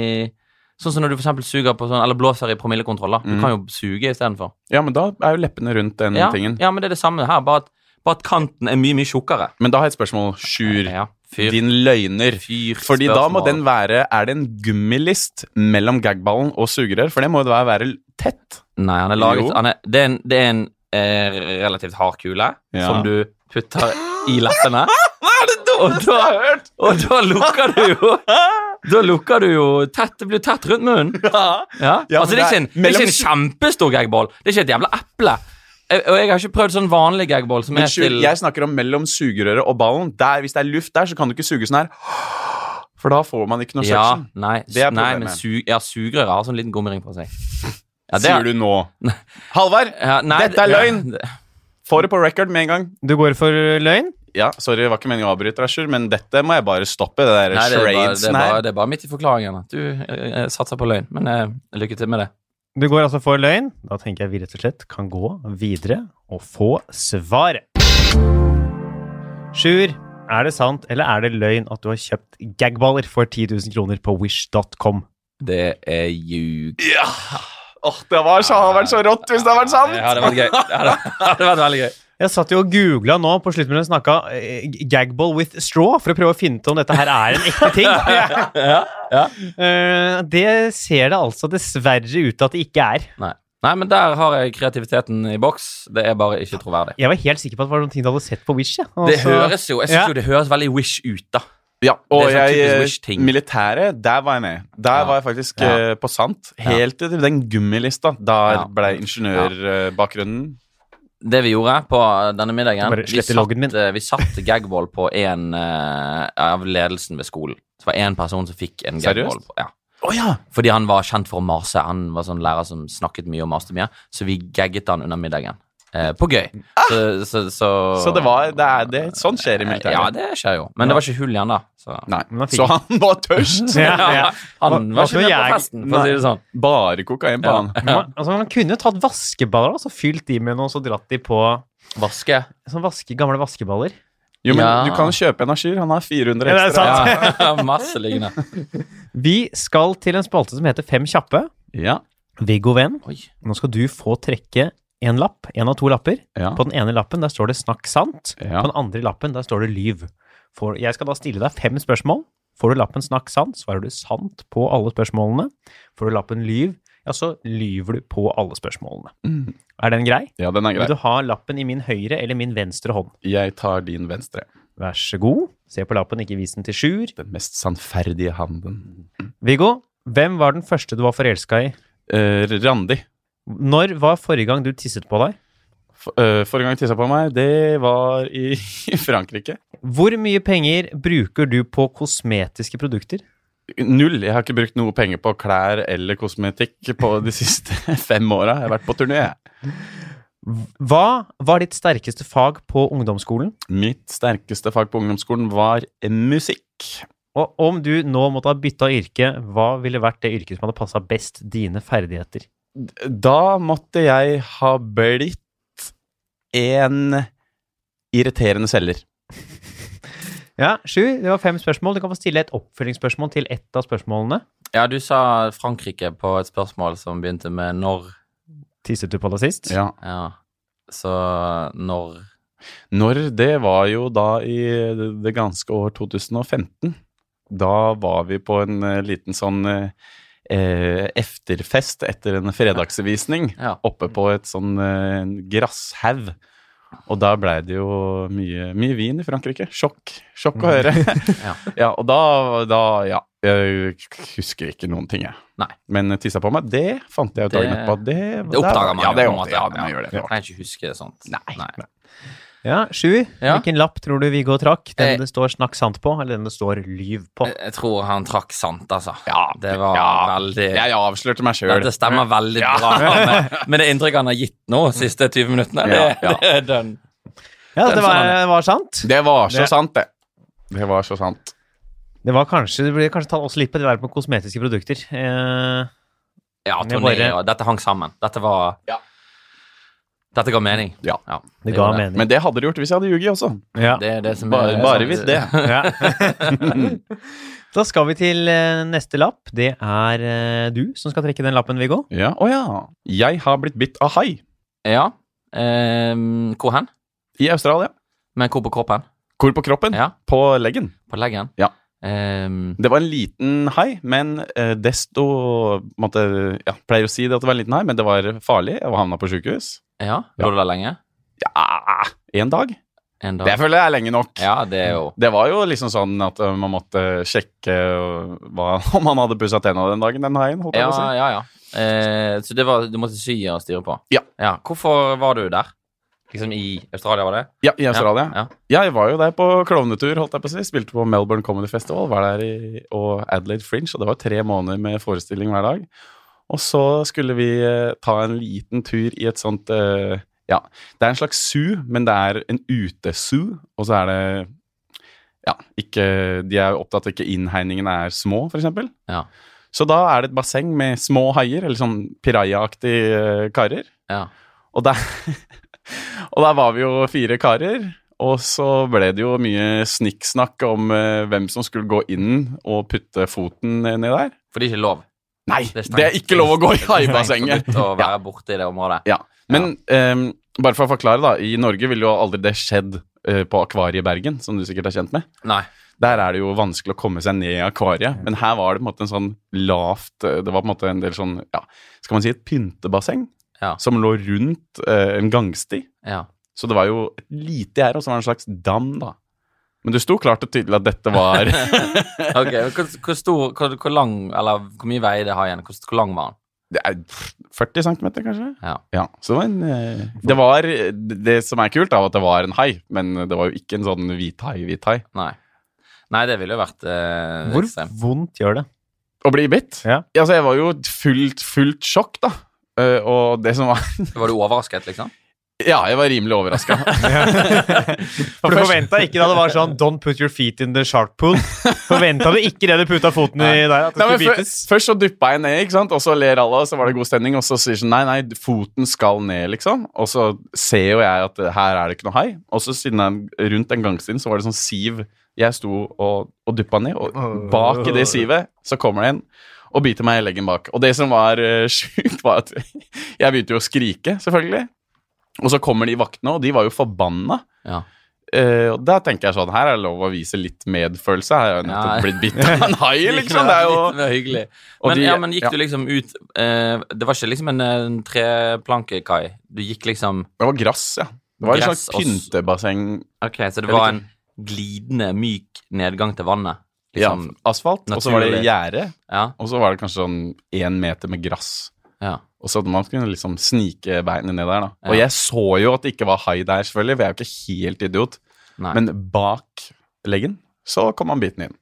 [SPEAKER 3] Sånn som når du for eksempel suger på sånn, eller blåser i promillekontroller. Du
[SPEAKER 4] Mm.
[SPEAKER 3] kan jo suge istedenfor.
[SPEAKER 4] Ja, men da er jo leppene rundt den
[SPEAKER 3] Ja,
[SPEAKER 4] tingen.
[SPEAKER 3] ja, men det er det samme her, bare at, bare at kanten er mye, mye tjukkere.
[SPEAKER 4] Men da har jeg et spørsmål. Sjur,
[SPEAKER 3] Ja, fyr,
[SPEAKER 4] din løgner.
[SPEAKER 3] fyr
[SPEAKER 4] Fordi da må
[SPEAKER 3] spørsmål.
[SPEAKER 4] den være Er det en gummilist mellom gagballen og sugerør? For det må jo være, være tett.
[SPEAKER 3] Nei, han er laget
[SPEAKER 4] Jo.
[SPEAKER 3] han er, det, er en, det er en eh, relativt hard kule
[SPEAKER 4] Ja.
[SPEAKER 3] som du putter i leppene. Og da, og da lukker du jo Da lukker du jo tett, Det blir tett rundt munnen. Ja.
[SPEAKER 4] Ja,
[SPEAKER 3] altså, det er
[SPEAKER 4] men det er
[SPEAKER 3] ikke en, det er ikke en
[SPEAKER 4] mellom-
[SPEAKER 3] kjempestor gagball. Det er ikke et jævla eple. Jeg, og jeg har ikke prøvd sånn vanlig gagball som
[SPEAKER 4] Men
[SPEAKER 3] er
[SPEAKER 4] Sjur,
[SPEAKER 3] til
[SPEAKER 4] jeg snakker om mellom sugerøret og ballen. Der, Hvis det er luft der, så kan du ikke suge sånn her. For da får man ikke noe
[SPEAKER 3] Ja,
[SPEAKER 4] suction.
[SPEAKER 3] nei,
[SPEAKER 4] Det er
[SPEAKER 3] nei
[SPEAKER 4] problemet.
[SPEAKER 3] men su, ja, sugerøret har sånn liten gummering på seg. Ja, det er-
[SPEAKER 4] Sier du nå. Halvard,
[SPEAKER 3] Ja, nei,
[SPEAKER 4] Dette er
[SPEAKER 3] ja,
[SPEAKER 4] løgn!
[SPEAKER 3] det-
[SPEAKER 4] få det på record med en gang.
[SPEAKER 2] Du går for løgn?
[SPEAKER 4] Ja, Sorry, det var ikke meningen å avbryte, deg, Sjur, men dette må jeg bare stoppe. Det der
[SPEAKER 3] Nei, det, er bare, det, er
[SPEAKER 4] shradesen
[SPEAKER 3] bare,
[SPEAKER 4] her.
[SPEAKER 3] det er bare midt i forklaringen at du eh, satser på løgn. Men eh, lykke til med det.
[SPEAKER 2] Du går altså for løgn? Da tenker jeg vi rett og slett kan gå videre og få svaret. Sjur, er det sant eller er det løgn at du har kjøpt gagballer for 10 000 kroner på wish.com?
[SPEAKER 3] Det er ljug.
[SPEAKER 4] Ja. Åh, det var så, hadde vært sånn! så rått hvis det hadde vært sant!
[SPEAKER 3] Det hadde vært gøy. Det hadde, det hadde vært veldig gøy.
[SPEAKER 2] Jeg satt jo og googla nå på slutten når du snakka eh, 'gagball with straw' for å prøve å finne ut om dette her er en ekte ting. Eh, det ser det altså dessverre ut til at det ikke er.
[SPEAKER 3] Nei. Nei, men der har jeg kreativiteten i boks. Det er bare ikke troverdig.
[SPEAKER 2] Jeg var helt sikker på at det var noen ting du hadde sett på Wish. jeg. Altså- Og
[SPEAKER 4] Altså-
[SPEAKER 3] Det
[SPEAKER 2] så-
[SPEAKER 3] høres jo jeg synes
[SPEAKER 2] Ja.
[SPEAKER 3] jo det høres veldig Wish ut, da.
[SPEAKER 4] Ja, og
[SPEAKER 3] Det er sånn typisk
[SPEAKER 4] jeg,
[SPEAKER 3] Wish-ting.
[SPEAKER 4] militæret, der var jeg med. Der
[SPEAKER 3] Ja.
[SPEAKER 4] var jeg faktisk
[SPEAKER 3] Ja.
[SPEAKER 4] eh, på sant. Helt til den gummilista. Der
[SPEAKER 3] Ja.
[SPEAKER 4] ble ingeniørbakgrunnen.
[SPEAKER 3] Det vi gjorde på denne middagen
[SPEAKER 2] Jeg bare
[SPEAKER 3] Vi
[SPEAKER 2] sletter loggen min.
[SPEAKER 3] satt, eh, vi satt gagball på en eh, av ledelsen ved skolen. Så det var én person som fikk en
[SPEAKER 4] Seriøst?
[SPEAKER 3] gagball. På, ja.
[SPEAKER 4] Å ja!
[SPEAKER 3] Fordi han var kjent for å mase. Han var sånn lærer som snakket mye og maste mye. Så vi gagget han under middagen. Eh, på gøy. Så, så, så,
[SPEAKER 4] Ah! Så det var det er, det, Sånn skjer i
[SPEAKER 3] Eh,
[SPEAKER 4] militæret.
[SPEAKER 3] Ja, det skjer jo. Men det var ikke hull i han, da. Så.
[SPEAKER 4] Nei.
[SPEAKER 2] Men han fikk-
[SPEAKER 4] Så han var tørst!
[SPEAKER 2] Ja, ja.
[SPEAKER 3] Han
[SPEAKER 2] Hva- hva
[SPEAKER 3] var ikke med
[SPEAKER 2] jeg-
[SPEAKER 3] på festen, for å si det sånn.
[SPEAKER 4] Bare kokain på
[SPEAKER 3] Ja.
[SPEAKER 4] han.
[SPEAKER 2] Man, altså, man kunne jo tatt vaskeballer og så fylt de med noe og så dratt de på
[SPEAKER 3] Vaske.
[SPEAKER 2] sånn vaske, gamle vaskeballer.
[SPEAKER 4] Jo, men
[SPEAKER 3] Ja.
[SPEAKER 4] du kan kjøpe en Ashyr. Han har 400
[SPEAKER 2] Ja, det er
[SPEAKER 4] ekstra.
[SPEAKER 2] sant.
[SPEAKER 3] Ja, masse liggende.
[SPEAKER 2] Vi skal til en spalte som heter Fem kjappe.
[SPEAKER 4] Ja.
[SPEAKER 2] Viggo Venn,
[SPEAKER 3] Oi.
[SPEAKER 2] nå skal du få trekke en lapp, en av to lapper.
[SPEAKER 4] Ja.
[SPEAKER 2] På den ene lappen der står det 'snakk sant'.
[SPEAKER 4] Ja.
[SPEAKER 2] På den andre lappen der står det 'lyv'. For jeg skal da stille deg fem spørsmål. Får du lappen 'snakk sant', svarer du sant på alle spørsmålene. Får du lappen 'lyv', ja, så lyver du på alle spørsmålene. Er den grei?
[SPEAKER 4] ja, den er
[SPEAKER 2] Vil
[SPEAKER 4] Mm. grei.
[SPEAKER 2] du ha lappen i min høyre eller min venstre hånd?
[SPEAKER 4] Jeg tar din venstre.
[SPEAKER 2] Vær så god. Se på lappen, ikke vis den til Sjur.
[SPEAKER 4] Den mest sannferdige handen.
[SPEAKER 2] Viggo, hvem var den første du var forelska i?
[SPEAKER 4] Eh, Randi.
[SPEAKER 2] Når var forrige gang du tisset på deg?
[SPEAKER 4] For, eh, forrige gang jeg tissa på meg, det var i Frankrike.
[SPEAKER 2] Hvor mye penger bruker du på kosmetiske produkter?
[SPEAKER 4] Null. Jeg har ikke brukt noe penger på klær eller kosmetikk på de siste fem åra. Jeg har vært på turné. jeg.
[SPEAKER 2] Hva var ditt sterkeste fag på ungdomsskolen?
[SPEAKER 4] Mitt sterkeste fag på ungdomsskolen var musikk.
[SPEAKER 2] Og om du nå måtte ha bytta yrke, hva ville vært det yrket som hadde passa best dine ferdigheter?
[SPEAKER 4] Da måtte jeg ha blitt en irriterende selger.
[SPEAKER 2] Ja, Sju, det var fem spørsmål. Du kan få stille et oppfølgingsspørsmål til ett av spørsmålene.
[SPEAKER 3] Ja, du sa Frankrike på et spørsmål som begynte med når.
[SPEAKER 2] Tisset du på deg sist?
[SPEAKER 4] Ja.
[SPEAKER 3] Ja. Så når
[SPEAKER 4] Når det var jo da i det ganske år 2015. Da var vi på en eh, liten sånn eh, eh, efterfest etter en fredagsvisning
[SPEAKER 3] Ja.
[SPEAKER 4] oppe på et sånn eh, gresshaug. Og da blei det jo mye, mye vin i Frankrike. Sjokk. Sjokk å høre.
[SPEAKER 3] Ja.
[SPEAKER 4] ja, og da, da Ja. Jeg husker ikke noen ting, jeg.
[SPEAKER 3] Nei.
[SPEAKER 4] Men tissa på meg, det fant jeg ut dagen
[SPEAKER 3] Det-
[SPEAKER 4] etterpå. Det,
[SPEAKER 3] Det oppdager man
[SPEAKER 4] ja,
[SPEAKER 3] jo.
[SPEAKER 4] det,
[SPEAKER 3] på en måte.
[SPEAKER 4] Ja, man gjør det.
[SPEAKER 3] Jeg kan ikke huske sånt.
[SPEAKER 4] Nei.
[SPEAKER 2] Ja, Sju,
[SPEAKER 3] Ja.
[SPEAKER 2] hvilken lapp tror du Viggo trakk? Den
[SPEAKER 3] Eh.
[SPEAKER 2] det står 'snakk sant' på, eller den det står 'lyv' på?
[SPEAKER 3] Jeg- Jeg tror han trakk sant, altså.
[SPEAKER 4] Ja,
[SPEAKER 3] Det var
[SPEAKER 4] ja,
[SPEAKER 3] veldig
[SPEAKER 4] Jeg avslørte meg sjøl.
[SPEAKER 3] Dette stemmer veldig bra med, med det inntrykket han har gitt nå, siste 20 minuttene. Det,
[SPEAKER 4] Ja, ja.
[SPEAKER 3] det er done.
[SPEAKER 2] Ja, det
[SPEAKER 3] Den sa
[SPEAKER 2] var,
[SPEAKER 3] han,
[SPEAKER 2] var sant.
[SPEAKER 4] Det var så
[SPEAKER 2] Det-
[SPEAKER 4] sant, det. Det var så sant.
[SPEAKER 2] Det var kanskje, det ble kanskje tatt også litt på det der med kosmetiske produkter. Eh,
[SPEAKER 3] Ja,
[SPEAKER 2] Men jeg
[SPEAKER 3] turné
[SPEAKER 2] bare-
[SPEAKER 3] og Dette hang sammen. Dette var
[SPEAKER 4] Ja.
[SPEAKER 3] Dette ga mening.
[SPEAKER 4] Ja.
[SPEAKER 2] det ga
[SPEAKER 3] gjorde
[SPEAKER 2] mening.
[SPEAKER 4] Men det hadde det gjort hvis jeg hadde ljuget også.
[SPEAKER 2] ja.
[SPEAKER 3] Det er det som
[SPEAKER 4] Bare,
[SPEAKER 3] er
[SPEAKER 4] bare
[SPEAKER 3] sant.
[SPEAKER 4] hvis det.
[SPEAKER 2] Ja. da skal vi til eh, neste lapp. Det er eh, du som skal trekke den lappen, Viggo.
[SPEAKER 4] Ja, Å ja. Jeg har blitt bitt av hai
[SPEAKER 3] Ja. Ehm, hvor hen?
[SPEAKER 4] i Australia.
[SPEAKER 3] Men hvor på kroppen?
[SPEAKER 4] Hvor på kroppen?
[SPEAKER 3] Ja,
[SPEAKER 4] På leggen.
[SPEAKER 3] På leggen?
[SPEAKER 4] Ja.
[SPEAKER 3] Ehm,
[SPEAKER 4] Det var en liten hai, men eh, desto måtte, ja, Pleier å si det at det var en liten hai, men det var farlig. Jeg havna på sjukehus.
[SPEAKER 3] ja. Lå du der lenge?
[SPEAKER 4] Ja, én dag.
[SPEAKER 3] En dag?
[SPEAKER 4] Det føler jeg er lenge nok.
[SPEAKER 3] Ja, det er jo
[SPEAKER 4] Det var jo liksom sånn at eh, man måtte sjekke eh, hva, om han hadde pussa tenna den dagen, den haien. Holdt jeg
[SPEAKER 3] Ja,
[SPEAKER 4] på å si.
[SPEAKER 3] ja, ja. Eh, så det var, du måtte sy og styre på?
[SPEAKER 4] Ja.
[SPEAKER 3] Hvorfor var du der? Liksom i Australia, var det?
[SPEAKER 4] Ja, i Australia.
[SPEAKER 3] Ja,
[SPEAKER 4] Jeg var jo der på klovnetur, holdt jeg på å si. Spilte på Melbourne Comedy Festival, var der i, og Adelaide Fringe, og det var tre måneder med forestilling hver dag. Og så skulle vi eh, ta en liten tur i et sånt eh, Ja, det er en slags zoo, men det er en utesoo, og så er det Ja, ikke De er jo opptatt av at ikke innhegningene er små, for eksempel.
[SPEAKER 3] Ja.
[SPEAKER 4] Så da er det et basseng med små haier, eller sånn pirajaaktige eh, karer.
[SPEAKER 3] ja.
[SPEAKER 4] Og der, og der var vi jo fire karer, og så ble det jo mye snikksnakk om eh, hvem som skulle gå inn og putte foten ned der.
[SPEAKER 3] For det er ikke lov.
[SPEAKER 4] Nei,
[SPEAKER 3] Det er
[SPEAKER 4] det
[SPEAKER 3] strengt.
[SPEAKER 4] er ikke lov å gå i
[SPEAKER 3] Det er strengt
[SPEAKER 4] haibassenget!
[SPEAKER 3] forbudt Å være borte i det området.
[SPEAKER 4] Ja, men ehm, Bare for å forklare, da. I Norge ville jo aldri det skjedd eh, på Akvariet i Bergen, som du sikkert er kjent med.
[SPEAKER 3] Nei.
[SPEAKER 4] Der er det jo vanskelig å komme seg ned i akvariet, men her var det på en måte en sånn lavt eh, Det var på en måte en del sånn, ja, skal man si et pyntebasseng
[SPEAKER 3] Ja.
[SPEAKER 4] som lå rundt eh, en gangsti.
[SPEAKER 3] Ja.
[SPEAKER 4] Så det var jo et lite gjerde, og så var det en slags dam, da. Men det sto klart og tydelig at dette var
[SPEAKER 3] Ok, men hvor, hvor stor, hvor, hvor lang, eller hvor mye vei det har igjen? Hvor, hvor lang var den?
[SPEAKER 4] Det er 40 cm, kanskje?
[SPEAKER 3] Ja.
[SPEAKER 4] så det var en eh, Det var Det som er kult, er jo at det var en hai, men det var jo ikke en sånn hvit hai, hvit hai.
[SPEAKER 3] Nei. Nei, det ville jo vært eh,
[SPEAKER 2] Hvor
[SPEAKER 3] ekstremt.
[SPEAKER 2] vondt gjør det?
[SPEAKER 4] Å bli bitt?
[SPEAKER 2] Ja.
[SPEAKER 4] Altså, jeg var jo fullt, fullt sjokk, da. Eh, og det som var
[SPEAKER 3] Var du overrasket, liksom?
[SPEAKER 4] Ja, jeg var rimelig overraska.
[SPEAKER 2] For du forventa ikke da det var sånn 'don't put your feet in the shark pool'? Forventa du ikke det du puta foten i der? At det
[SPEAKER 4] Nei, men
[SPEAKER 2] skulle
[SPEAKER 4] før-
[SPEAKER 2] bites?
[SPEAKER 4] først så duppa jeg ned, ikke sant? og så ler alle, og så var det god stemning. Og så sier sånn nei, nei, foten skal ned, liksom. Og så ser jo jeg at eh, her er det ikke noe hai. Og så siden jeg, rundt den gangstien så var det sånn siv jeg sto og, og duppa ned, og bak i det sivet så kommer det en. Og biter meg i leggen bak. Og det som var eh, sjukt, var at jeg begynte jo å skrike, selvfølgelig. Og så kommer de vaktene, og de var jo forbanna.
[SPEAKER 3] Ja.
[SPEAKER 4] Eh, og da tenker jeg sånn, her er det lov å vise litt medfølelse. Her er jeg jo nettopp
[SPEAKER 3] Ja.
[SPEAKER 4] blitt bitt av en hai, liksom. Det er jo
[SPEAKER 3] Litt mer hyggelig.
[SPEAKER 4] Og
[SPEAKER 3] Men,
[SPEAKER 4] de-
[SPEAKER 3] ja, men gikk
[SPEAKER 4] ja.
[SPEAKER 3] du liksom ut eh, Det var ikke liksom en, eh, en treplankekai. Du gikk liksom
[SPEAKER 4] Det var grass, ja. Det var et
[SPEAKER 3] Gress
[SPEAKER 4] slags pyntebasseng.
[SPEAKER 3] Ok, så det
[SPEAKER 4] Eller
[SPEAKER 3] var
[SPEAKER 4] ikke-
[SPEAKER 3] en glidende, myk nedgang til vannet.
[SPEAKER 4] Ja,
[SPEAKER 3] Liksom.
[SPEAKER 4] asfalt, og så var det
[SPEAKER 3] naturlig.
[SPEAKER 4] gjerde.
[SPEAKER 3] Ja.
[SPEAKER 4] Og så var det kanskje sånn én meter med grass.
[SPEAKER 3] ja.
[SPEAKER 4] Og så hadde man kunne liksom snike beinet ned der, da.
[SPEAKER 3] Ja.
[SPEAKER 4] Og jeg så jo at det ikke var hai der, selvfølgelig, for jeg er jo ikke helt idiot.
[SPEAKER 3] Nei.
[SPEAKER 4] Men bak leggen så kom han biten inn.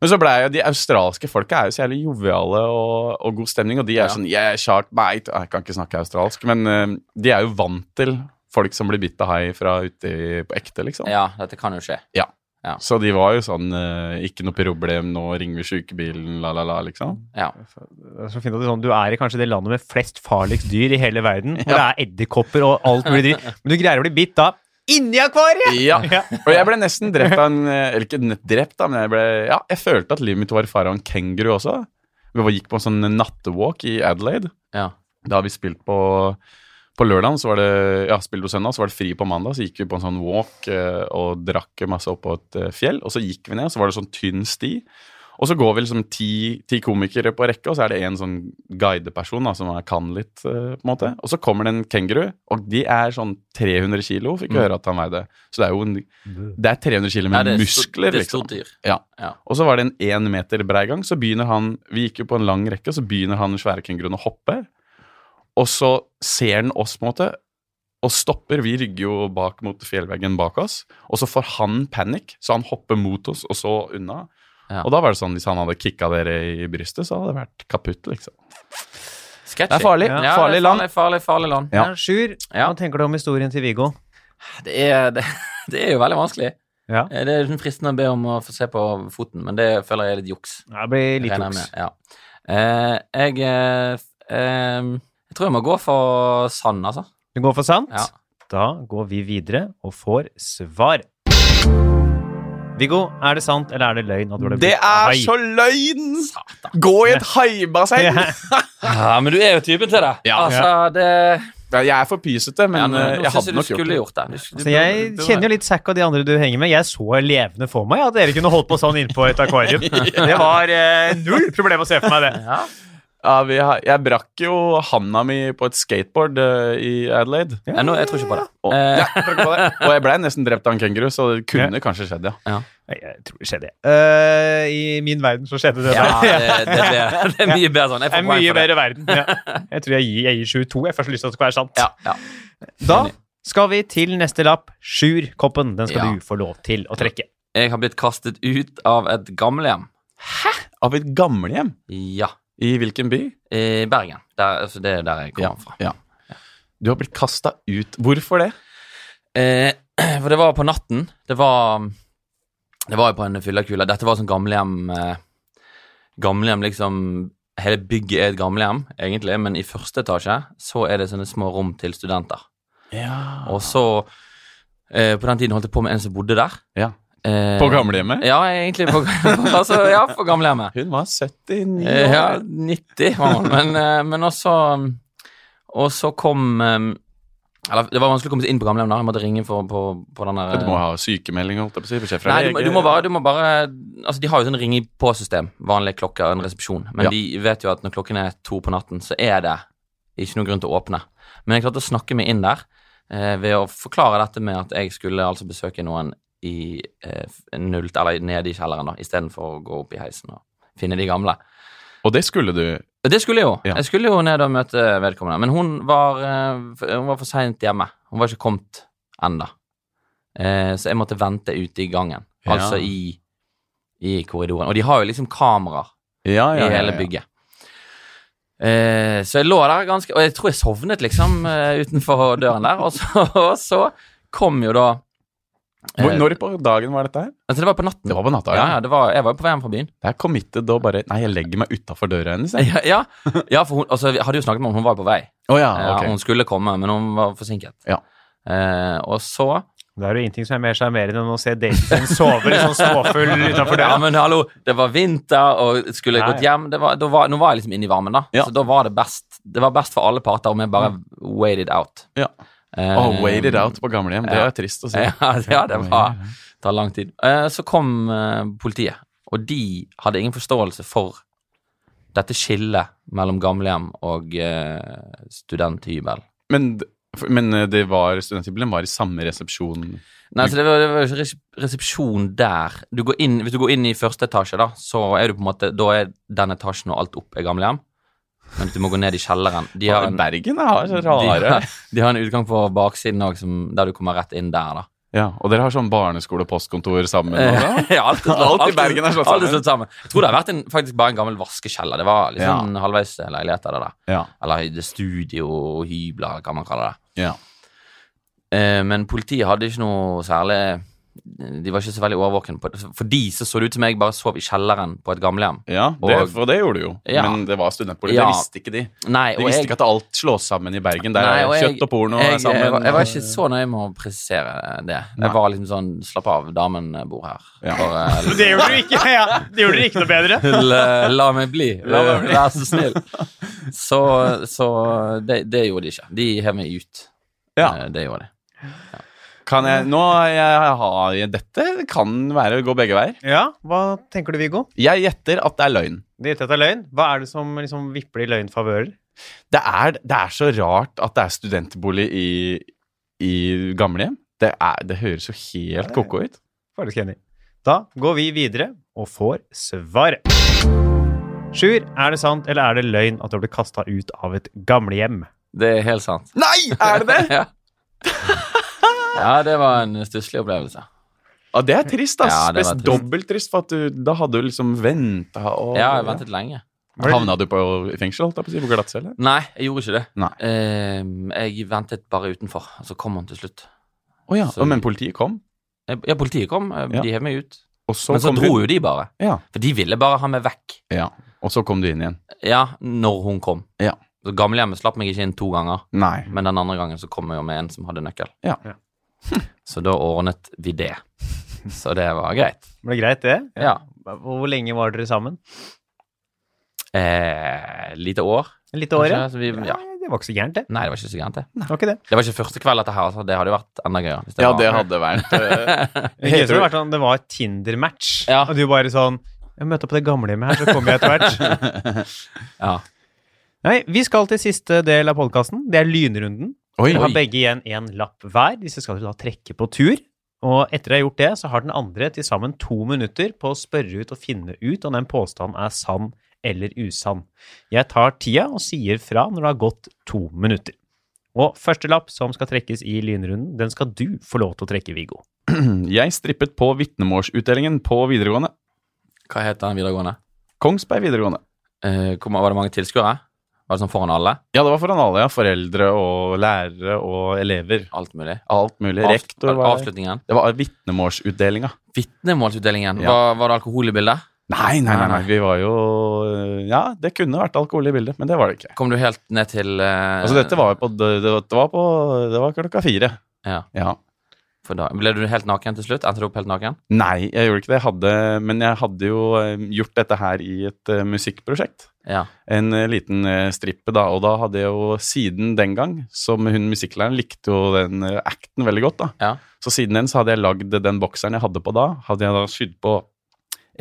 [SPEAKER 4] Men så blei jo de australske folka er jo så jævlig joviale og, og god stemning, og de
[SPEAKER 3] Ja.
[SPEAKER 4] er sånn yeah, shark bite. Jeg kan ikke snakke australsk, men eh, de er jo vant til folk som blir bitt av hai fra ute i- på ekte, liksom.
[SPEAKER 3] ja, dette kan jo skje.
[SPEAKER 4] Så de var jo sånn eh, Ikke noe problem, nå ringer vi sykebilen, la, la, la, liksom.
[SPEAKER 3] Ja.
[SPEAKER 2] Det er så fint at det er sånn, Du er i kanskje det landet med flest farligst dyr i hele verden. Hvor det er edderkopper og alt mulig dritt. Men du greier å bli bitt da inni akvariet!
[SPEAKER 4] Ja. Og jeg ble nesten drept av en eh, Eller ikke nett drept, da, men jeg ble Ja, jeg følte at livet mitt var i fare av en kenguru også. Vi var- gikk på en sånn nattewalk i Adelaide.
[SPEAKER 3] ja.
[SPEAKER 4] Da har vi spilt på på lørdag, så var det ja, spilt på søndag, så var det fri på mandag. Så gikk vi på en sånn walk eh, og drakk masse opp på et eh, fjell. Og så gikk vi ned, og så var det sånn tynn sti. Og så går vi liksom ti, ti komikere på rekke, og så er det en sånn guideperson da, som er, kan litt. eh, på en måte. Og så kommer det en kenguru, og de er sånn 300 kilo, fikk vi høre at han veide. Så det er jo en, det er 300 kilo
[SPEAKER 3] Ja,
[SPEAKER 4] med
[SPEAKER 3] Mm. det er stort-
[SPEAKER 4] muskler,
[SPEAKER 3] det er
[SPEAKER 4] liksom.
[SPEAKER 3] stort dyr.
[SPEAKER 4] Ja.
[SPEAKER 3] Ja.
[SPEAKER 4] Og så var det en én meter brei gang. Så begynner han Vi gikk jo på en lang rekke, og så begynner han svære kenguruen å hoppe. Og så ser den oss, på en måte, og stopper. Vi rygger jo bak mot fjellveggen bak oss. Og så får han panikk, så han hopper mot oss, og så unna.
[SPEAKER 3] Ja.
[SPEAKER 4] Og da var det sånn, hvis han hadde kicka dere i brystet, så hadde det vært kaputt, liksom.
[SPEAKER 3] Sketchy.
[SPEAKER 4] Det er farlig.
[SPEAKER 3] Ja, det er
[SPEAKER 4] Farlig land.
[SPEAKER 3] Farlig, farlig, farlig land.
[SPEAKER 4] Ja.
[SPEAKER 2] Ja, Sjur,
[SPEAKER 3] Ja.
[SPEAKER 2] hva tenker du om historien til Viggo?
[SPEAKER 3] Det, er, det, det er jo veldig vanskelig.
[SPEAKER 2] Ja.
[SPEAKER 3] Eh, Det er liksom fristende å be om å få se på foten, men det føler jeg er litt juks.
[SPEAKER 2] Det blir litt
[SPEAKER 3] regner jeg
[SPEAKER 2] juks.
[SPEAKER 3] med, Ja. Eh, jeg eh, f- ehm, Jeg tror jeg må gå for sand, altså.
[SPEAKER 2] Du går for sant?
[SPEAKER 3] Ja.
[SPEAKER 2] Da går vi videre og får svar. Viggo, er det sant eller er det løgn? at du ble bitt av hai?
[SPEAKER 4] løgn!
[SPEAKER 3] Satan.
[SPEAKER 4] Gå i et haibasseng!
[SPEAKER 2] Ja.
[SPEAKER 3] Ja, men du er jo typen til det.
[SPEAKER 4] Ja.
[SPEAKER 3] Altså, det
[SPEAKER 4] Ja, jeg er for pysete, men
[SPEAKER 3] ja, nå,
[SPEAKER 4] eh,
[SPEAKER 3] nå
[SPEAKER 4] jeg
[SPEAKER 3] syns jeg
[SPEAKER 4] hadde
[SPEAKER 3] du
[SPEAKER 4] nok gjort
[SPEAKER 3] skulle
[SPEAKER 4] det.
[SPEAKER 3] gjort det. Du, du,
[SPEAKER 2] Så jeg kjenner jo litt Zack og de andre du henger med. Jeg så levende for meg at dere kunne holdt på sånn innpå et akvarium. Det var eh, null problem å se for meg det.
[SPEAKER 3] ja.
[SPEAKER 4] Ja, vi har, jeg brakk jo handa mi på et skateboard eh, i Adelaide.
[SPEAKER 3] Nei, nå, Jeg tror ikke på det.
[SPEAKER 4] Og,
[SPEAKER 3] Eh,
[SPEAKER 4] ja, takk for det. og jeg ble nesten drept av en kenguru, så det kunne kanskje skjedd, ja.
[SPEAKER 2] Nei, Jeg tror det skjedde. Eh, I min verden så skjedde det.
[SPEAKER 3] ja,
[SPEAKER 2] der.
[SPEAKER 3] det, det, er bedre. det er mye bedre sånn.
[SPEAKER 2] Det
[SPEAKER 3] Jeg får
[SPEAKER 2] er
[SPEAKER 3] poeng
[SPEAKER 2] mye
[SPEAKER 3] for det.
[SPEAKER 2] bedre verden. Ja. Jeg tror jeg gir, jeg gir 22. Jeg har først lyst til at det skal være sant.
[SPEAKER 3] Ja, ja.
[SPEAKER 2] Da skal vi til neste lapp. Sjur-koppen. Den skal
[SPEAKER 3] Ja.
[SPEAKER 2] du få lov til å trekke.
[SPEAKER 3] Jeg har blitt kastet ut av et gamlehjem.
[SPEAKER 4] Av et gamlehjem.
[SPEAKER 3] Ja.
[SPEAKER 4] I hvilken by?
[SPEAKER 3] I Bergen. Der, altså, det er der jeg kommer fra.
[SPEAKER 4] ja. Du har blitt kasta ut. Hvorfor det?
[SPEAKER 3] Eh, for det var på natten. Det var Det var jo på en fyllekule. Dette var sånn gamlehjem eh, Gamlehjem, liksom Hele bygget er et gamlehjem, egentlig, men i første etasje så er det sånne små rom til studenter.
[SPEAKER 4] Ja.
[SPEAKER 3] Og så eh, På den tiden holdt jeg på med en som bodde der. Eh,
[SPEAKER 4] På gamlehjemmet?
[SPEAKER 3] Ja, egentlig. På, altså, ja, på gamlehjemmet.
[SPEAKER 4] Hun var 79 år.
[SPEAKER 3] Eh, Ja, 90 var han. Men, eh, men også Og så kom eh, Eller, det var vanskelig å komme seg inn på gamlehjemmet. da. Jeg måtte ringe for, på, på den der
[SPEAKER 4] Du må ha sykemelding, holdt jeg på å si. Beskjed fra eh,
[SPEAKER 3] Nei, du, må- du må bare, du må bare Altså, de har jo sånn ringe på-system, vanlige klokker og en resepsjon, men
[SPEAKER 4] Ja.
[SPEAKER 3] de vet jo at når klokken er to på natten, så er det ikke noen grunn til å åpne. Men jeg klarte å snakke meg inn der eh, ved å forklare dette med at jeg skulle altså besøke noen i eh, null, eller nede i kjelleren, da, istedenfor å gå opp i heisen og finne de gamle.
[SPEAKER 4] Og det skulle du.
[SPEAKER 3] Det skulle jeg jo.
[SPEAKER 4] Ja.
[SPEAKER 3] Jeg skulle jo ned og møte vedkommende. Men hun var, eh, f- hun var for seint hjemme. Hun var ikke kommet enda. Eh, Så jeg måtte vente ute i gangen.
[SPEAKER 4] Ja.
[SPEAKER 3] Altså i, i korridoren. Og de har jo liksom kameraer
[SPEAKER 4] Ja, ja, ja,
[SPEAKER 3] i hele
[SPEAKER 4] ja.
[SPEAKER 3] bygget. Eh, så jeg lå der ganske Og jeg tror jeg sovnet, liksom, eh, utenfor døren der. Og så, og så kom jo da eh,
[SPEAKER 4] Hvor, når på dagen var dette her?
[SPEAKER 3] Altså, det var på natten.
[SPEAKER 4] Det var på natta,
[SPEAKER 3] ja, ja, det var, jeg var jo på vei hjem fra byen.
[SPEAKER 4] Det er committed å bare Nei, jeg legger meg utafor døra hennes, jeg.
[SPEAKER 3] Ja, ja, ja for hun, altså, vi hadde jo snakket med henne, hun var jo på vei.
[SPEAKER 4] Å ja,
[SPEAKER 3] Ja,
[SPEAKER 4] ok.
[SPEAKER 3] Eh, Hun skulle komme, men hun var forsinket.
[SPEAKER 4] Ja.
[SPEAKER 3] Eh, og så
[SPEAKER 2] Det er jo ingenting som er mer sjarmerende enn å se daten sin sove litt sånn småfull utenfor
[SPEAKER 3] Ja,
[SPEAKER 2] døra.
[SPEAKER 3] men hallo, det var vinter, og skulle jeg
[SPEAKER 2] Ja,
[SPEAKER 3] gått
[SPEAKER 2] ja.
[SPEAKER 3] hjem det var, da var, Nå var jeg liksom inne i varmen, da.
[SPEAKER 4] Ja.
[SPEAKER 3] Så da var det best. Det var best for alle parter om jeg bare waited out.
[SPEAKER 4] Ja.
[SPEAKER 3] Eh,
[SPEAKER 4] Oh, wait it out på gamlehjem. Det
[SPEAKER 3] ja.
[SPEAKER 4] er trist å si.
[SPEAKER 3] Ja, ja, det var tar lang tid. Eh, så kom eh, politiet, og de hadde ingen forståelse for dette skillet mellom gamlehjem og eh, studenthybel.
[SPEAKER 4] Men, d- for- men eh, det var studenthybelen var i samme resepsjon
[SPEAKER 3] Nei, så det var, det var ikke res- resepsjon der. Du går inn, hvis du går inn i første etasje, da, så er du på en måte Da er den etasjen og alt opp er gamlehjem. Men du må gå ned i kjelleren. De har en,
[SPEAKER 4] Bergen har så
[SPEAKER 3] de
[SPEAKER 4] rare
[SPEAKER 3] har, de har en utgang på baksiden òg, der du kommer rett inn der, da.
[SPEAKER 4] Ja, Og dere har sånn barneskole og postkontor sammen? Og
[SPEAKER 3] Eh,
[SPEAKER 4] da?
[SPEAKER 3] ja, alt, er slått-
[SPEAKER 4] Alt i
[SPEAKER 3] alt er-
[SPEAKER 4] Bergen er slått
[SPEAKER 3] alt er
[SPEAKER 4] sammen.
[SPEAKER 3] slått sammen. Jeg tror det har vært en, faktisk bare en gammel vaskekjeller. Det var liksom en halvveis leilighet av det der.
[SPEAKER 4] ja,
[SPEAKER 3] Eller det studio, hybler, eller hva man kaller det.
[SPEAKER 4] ja.
[SPEAKER 3] Eh, men politiet hadde ikke noe særlig De var ikke så veldig årvåkne på det. For de så så det ut som jeg bare sov i kjelleren på et gamlehjem.
[SPEAKER 4] ja det,
[SPEAKER 3] Og-
[SPEAKER 4] for det gjorde du jo.
[SPEAKER 3] Ja.
[SPEAKER 4] Men det var studentbolig.
[SPEAKER 3] Ja.
[SPEAKER 4] Det visste ikke de.
[SPEAKER 3] Nei,
[SPEAKER 4] De visste ikke at alt slås sammen i Bergen. Der
[SPEAKER 3] Nei, og
[SPEAKER 4] er
[SPEAKER 3] jeg-
[SPEAKER 4] kjøtt og porno
[SPEAKER 3] jeg,
[SPEAKER 4] er sammen.
[SPEAKER 3] Jeg, var, jeg var ikke så nøye med å presisere det. Jeg var liksom sånn Slapp av, damen bor her.
[SPEAKER 4] Ja.
[SPEAKER 3] Bare,
[SPEAKER 2] Det gjorde du ikke, ja. Det gjorde dere ikke noe bedre.
[SPEAKER 3] la, la meg bli.
[SPEAKER 4] La meg bli.
[SPEAKER 3] Vær så snill. Så, så det, det gjorde de ikke. De hev meg ut.
[SPEAKER 4] Ja.
[SPEAKER 3] Eh, Det gjorde de.
[SPEAKER 4] Kan jeg, nå jeg, har jeg, Dette kan være gå begge veier.
[SPEAKER 2] Ja, hva tenker du, Viggo?
[SPEAKER 4] Jeg gjetter at det er løgn.
[SPEAKER 2] Det gjetter jeg er løgn. Hva er det som liksom vipper i løgnfavører?
[SPEAKER 4] Det er, det er så rart at det er studentbolig i, i gamlehjem. Det, er, det høres jo helt ko-ko ut.
[SPEAKER 2] Faktisk enig. Da går vi videre og får svaret. Sjur, er det sant eller er det løgn at du ble kasta ut av et gamlehjem?
[SPEAKER 3] Det er helt sant.
[SPEAKER 4] Nei, er det det?!
[SPEAKER 3] Ja. ja, det var en stusslig opplevelse.
[SPEAKER 4] Ja, det er trist, ass.
[SPEAKER 3] Ja, det var
[SPEAKER 4] Spes-
[SPEAKER 3] trist.
[SPEAKER 4] Dobbelt trist, for at du, da hadde du liksom venta og
[SPEAKER 3] Ja, jeg ventet lenge.
[SPEAKER 2] Var det-
[SPEAKER 4] Havna du på i fengsel, holdt jeg på å si? På glattcelle?
[SPEAKER 3] Nei, jeg gjorde ikke det.
[SPEAKER 4] Nei.
[SPEAKER 3] Eh, jeg ventet bare utenfor, og så kom han til slutt.
[SPEAKER 4] Å ja.
[SPEAKER 3] Så-
[SPEAKER 4] Men politiet kom,
[SPEAKER 3] Eh, Ja, politiet kom. eh,
[SPEAKER 4] Ja.
[SPEAKER 3] De hev meg ut.
[SPEAKER 4] og så,
[SPEAKER 3] Men så
[SPEAKER 4] kom
[SPEAKER 3] dro
[SPEAKER 4] hun.
[SPEAKER 3] jo de bare.
[SPEAKER 4] Ja.
[SPEAKER 3] For de ville bare ha meg vekk.
[SPEAKER 4] ja. Og så kom du inn igjen.
[SPEAKER 3] Ja, når hun kom.
[SPEAKER 4] Ja.
[SPEAKER 3] Så Gamlehjemmet slapp meg ikke inn to ganger,
[SPEAKER 4] Nei.
[SPEAKER 3] men den andre gangen så kom jeg jo med en som hadde nøkkel.
[SPEAKER 4] Ja.
[SPEAKER 2] Ja.
[SPEAKER 3] så da ordnet vi det. Så det var greit.
[SPEAKER 2] Var det greit, det?
[SPEAKER 3] Ja.
[SPEAKER 2] Hvor hvor lenge var dere sammen?
[SPEAKER 3] Eh, lite år.
[SPEAKER 2] Litt av
[SPEAKER 3] kanskje,
[SPEAKER 2] året?
[SPEAKER 3] så vi, ja.
[SPEAKER 2] Nei, det var ikke så gærent, det.
[SPEAKER 3] Nei, det var ikke så gærent, det.
[SPEAKER 2] Var ikke det.
[SPEAKER 3] Det var ikke første kveld dette her, altså. Det hadde jo vært enda gøyere. hvis
[SPEAKER 4] Ja,
[SPEAKER 3] var-
[SPEAKER 4] det hadde vært eh,
[SPEAKER 2] Det gøyeste hadde vært sånn, det var et Tinder-match,
[SPEAKER 3] Ja.
[SPEAKER 2] og du bare sånn Jeg møter på det gamlehjemmet her, så kommer jeg etter hvert.
[SPEAKER 3] Ja.
[SPEAKER 2] Nei, vi skal til siste del av podkasten. Det er lynrunden.
[SPEAKER 4] Oi,
[SPEAKER 2] Dere har
[SPEAKER 4] oi.
[SPEAKER 2] begge igjen én lapp hver. Disse skal dere da trekke på tur. Og etter dere har gjort det, så har den andre til sammen to minutter på å spørre ut og finne ut om den påstanden er sann eller usann. Jeg tar tida og sier fra når det har gått to minutter. Og første lapp som skal trekkes i lynrunden, den skal du få lov til å trekke, Viggo.
[SPEAKER 4] Jeg strippet på vitnemålsutdelingen på videregående.
[SPEAKER 3] Hva het den videregående?
[SPEAKER 4] Kongsberg videregående.
[SPEAKER 3] Eh, hvor ma- var det mange tilskuere? Var det sånn foran alle?
[SPEAKER 4] Ja, det var foran alle. ja. Foreldre og lærere og elever.
[SPEAKER 3] Alt mulig.
[SPEAKER 4] Alt mulig.
[SPEAKER 3] Avs-
[SPEAKER 4] Rektor var
[SPEAKER 3] Avslutningen.
[SPEAKER 4] Det var vitnemålsutdelinga.
[SPEAKER 3] Vitnemålsutdelingen.
[SPEAKER 4] Ja.
[SPEAKER 3] Var, var det alkohol i bildet?
[SPEAKER 4] Nei, nei, nei,
[SPEAKER 3] Nei,
[SPEAKER 4] nei. Vi var jo eh, Ja, det kunne vært alkohol i bildet, men det var det ikke.
[SPEAKER 3] Kom du helt ned til eh,
[SPEAKER 4] Altså, dette var jo på, det, det var på Det var klokka fire.
[SPEAKER 3] Ja. For da, ble du helt naken til slutt? Endte du opp helt naken?
[SPEAKER 4] Nei, jeg gjorde ikke det. Jeg hadde, men jeg hadde jo eh, gjort dette her i et eh, musikkprosjekt.
[SPEAKER 3] Ja.
[SPEAKER 4] En eh, liten eh, strippe, da. Og da hadde jeg jo siden den gang, som hun musikklæreren likte jo den eh, acten veldig godt, da.
[SPEAKER 3] Ja.
[SPEAKER 4] Så siden den så hadde jeg lagd den bokseren jeg hadde på da, hadde jeg da sydd på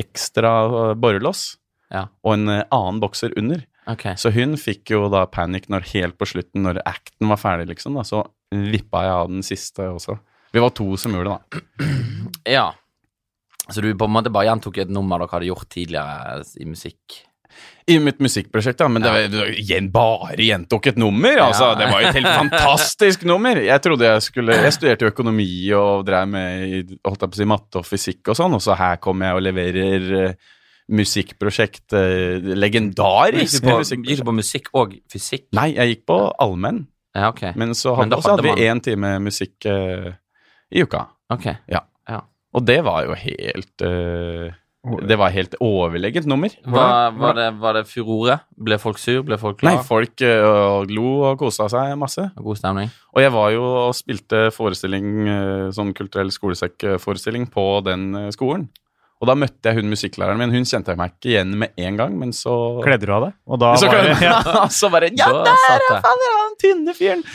[SPEAKER 4] ekstra eh, borrelås
[SPEAKER 3] Ja.
[SPEAKER 4] og en eh, annen bokser under.
[SPEAKER 3] Ok.
[SPEAKER 4] Så hun fikk jo da panikk når helt på slutten, når acten var ferdig, liksom. da, Så vippa jeg av den siste også. Vi var to som gjorde det, da.
[SPEAKER 3] Ja. Så du på en måte bare gjentok et nummer dere hadde gjort tidligere eh, i musikk?
[SPEAKER 4] I mitt musikkprosjekt, da. Men det var, det var igjen bare gjentok et nummer, altså.
[SPEAKER 3] Ja.
[SPEAKER 4] Det var jo et helt fantastisk nummer. Jeg trodde jeg skulle Jeg studerte jo økonomi og drev med i, holdt jeg på å si, matte og fysikk og sånn, og så her kommer jeg og leverer eh, musikkprosjekt eh,
[SPEAKER 3] Gikk
[SPEAKER 4] Legendarisk
[SPEAKER 3] du på,
[SPEAKER 4] musikkprosjekt.
[SPEAKER 3] gikk du på musikk og fysikk?
[SPEAKER 4] Nei, jeg gikk på allmenn,
[SPEAKER 3] Ja, ok.
[SPEAKER 4] men så
[SPEAKER 3] Men
[SPEAKER 4] hadde,
[SPEAKER 3] da
[SPEAKER 4] også hadde
[SPEAKER 3] hadde
[SPEAKER 4] vi én time musikk eh, i uka.
[SPEAKER 3] Ok.
[SPEAKER 4] Og det var jo helt eh, Det var helt overlegent nummer.
[SPEAKER 3] Var, var, det, var det furore? Ble folk sur? Ble folk
[SPEAKER 4] Nei,
[SPEAKER 3] glad?
[SPEAKER 4] folk eh, lo og kosa seg masse.
[SPEAKER 3] God stemning?
[SPEAKER 4] Og jeg var jo og spilte forestilling, eh, sånn kulturell skolesekkforestilling på den eh, skolen. Og da møtte jeg hun musikklæreren min. Hun kjente jeg meg ikke igjen med en gang, men så
[SPEAKER 2] Kledde du av deg? Og da
[SPEAKER 4] Så,
[SPEAKER 2] var det,
[SPEAKER 4] kledde-
[SPEAKER 2] ja.
[SPEAKER 4] så bare Ja,
[SPEAKER 3] Da
[SPEAKER 4] der
[SPEAKER 3] satt
[SPEAKER 4] er
[SPEAKER 3] det.
[SPEAKER 4] fader, han tynne fyren!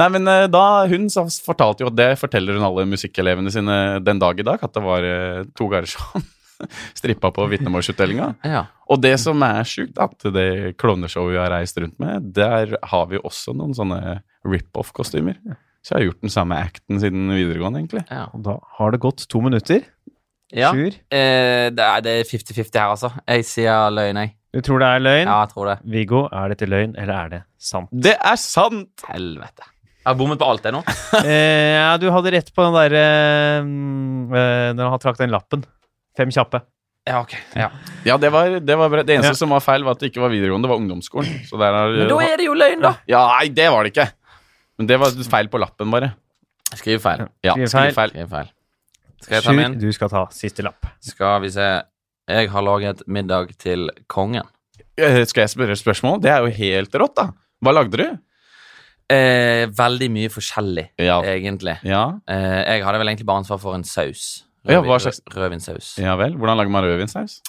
[SPEAKER 4] Nei, men eh, da, hun sa- fortalte jo at det forteller hun alle musikkelevene sine den dag i dag, at det var eh, to Garderson strippa på vitnemålsutdelinga.
[SPEAKER 3] Ja.
[SPEAKER 4] Og det som er sjukt, at det klovneshowet jeg har reist rundt med, der har vi jo også noen sånne rip-off-kostymer. Så jeg har gjort den samme acten siden videregående, egentlig.
[SPEAKER 3] ja.
[SPEAKER 2] Og da har det gått to minutter.
[SPEAKER 3] ja.
[SPEAKER 2] Sjur,
[SPEAKER 3] Eh, det er- det er 50-50 her, altså. Jeg sier løgn, jeg.
[SPEAKER 2] du tror det er løgn?
[SPEAKER 3] Ja, jeg tror det.
[SPEAKER 2] Viggo, er dette løgn, eller er det sant?
[SPEAKER 4] Det er sant!
[SPEAKER 3] Helvete. Jeg har bommet på alt, jeg nå.
[SPEAKER 2] eh, ja, du hadde rett på den derre eh, Når han trakk den lappen. Fem kjappe.
[SPEAKER 3] Ja, ok. Ja.
[SPEAKER 4] Ja, det var, det var bra. Det eneste
[SPEAKER 2] Ja.
[SPEAKER 4] som var feil, var at det ikke var videregående, det var ungdomsskolen. Så der har
[SPEAKER 3] Men da er det jo løgn, da.
[SPEAKER 4] Ja, nei, det var det ikke. Men det var feil på lappen, bare.
[SPEAKER 3] Skriv feil.
[SPEAKER 4] Ja,
[SPEAKER 2] Skrivefeil.
[SPEAKER 4] skrivefeil.
[SPEAKER 3] Skriv feil. Skal jeg ta
[SPEAKER 2] Sjur,
[SPEAKER 3] min?
[SPEAKER 2] du skal ta siste lapp.
[SPEAKER 3] Skal vi se. Jeg har laget middag til kongen.
[SPEAKER 4] Eh, Skal jeg spørre et spørsmål? Det er jo helt rått, da. Hva lagde du?
[SPEAKER 3] Eh, veldig mye forskjellig,
[SPEAKER 4] Ja.
[SPEAKER 3] egentlig.
[SPEAKER 4] Ja,
[SPEAKER 3] Eh, jeg hadde vel egentlig bare ansvar for en saus.
[SPEAKER 4] Ja,
[SPEAKER 3] Rødvin-
[SPEAKER 4] hva slags-
[SPEAKER 3] Rødvinsaus.
[SPEAKER 4] ja vel. Hvordan lager man rødvinsaus?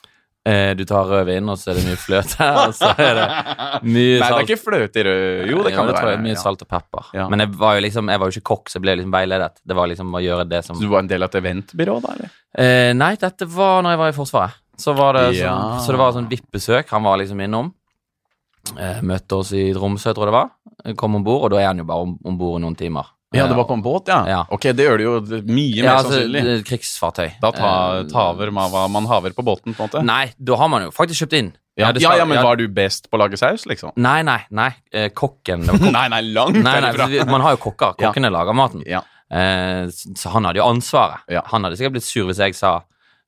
[SPEAKER 3] Eh, du tar rødvin, og så er det mye fløte. og så er det mye
[SPEAKER 4] Nei, det
[SPEAKER 3] salt.
[SPEAKER 4] er ikke fløte i rød... Jo, det kan det
[SPEAKER 3] tror
[SPEAKER 4] være.
[SPEAKER 3] jeg, Mye
[SPEAKER 4] ja.
[SPEAKER 3] salt og pepper.
[SPEAKER 4] Ja.
[SPEAKER 3] Men jeg var jo liksom, jeg var jo ikke kokk, så jeg ble liksom veiledet. Det var liksom å gjøre det som
[SPEAKER 4] Så du var en del av et eventbyrå, da? eller?
[SPEAKER 3] eh, Nei, dette var når jeg var i Forsvaret. Så, var det
[SPEAKER 4] Ja.
[SPEAKER 3] sånn, så det var sånn VIP-besøk. Han var liksom innom. Eh, møtte oss i Tromsø, tror jeg det var. Kom om bord, og da er han jo bare om bord i noen timer.
[SPEAKER 4] Ja, det var
[SPEAKER 3] Eh,
[SPEAKER 4] på en båt, ja.
[SPEAKER 3] Ja.
[SPEAKER 4] Ok, det gjør det jo d- mye mer
[SPEAKER 3] ja, altså,
[SPEAKER 4] sannsynlig.
[SPEAKER 3] eh, krigsfartøy.
[SPEAKER 4] Da ta,
[SPEAKER 3] Eh,
[SPEAKER 4] taver man hva man haver på båten, på en måte.
[SPEAKER 3] Nei, da har man jo faktisk kjøpt inn.
[SPEAKER 4] ja,
[SPEAKER 3] det
[SPEAKER 4] ja,
[SPEAKER 3] skal-
[SPEAKER 4] ja, men var du best på å lage saus, liksom?
[SPEAKER 3] Nei, nei, nei. Eh, kokken. Det var
[SPEAKER 4] Nei, nei, langt
[SPEAKER 3] Nei, nei, altså,
[SPEAKER 4] herifra.
[SPEAKER 3] vi- man har jo kokker. Kokkene lager maten.
[SPEAKER 4] Ja.
[SPEAKER 3] Eh, så så han hadde jo ansvaret.
[SPEAKER 4] Ja.
[SPEAKER 3] Han hadde sikkert blitt sur hvis jeg sa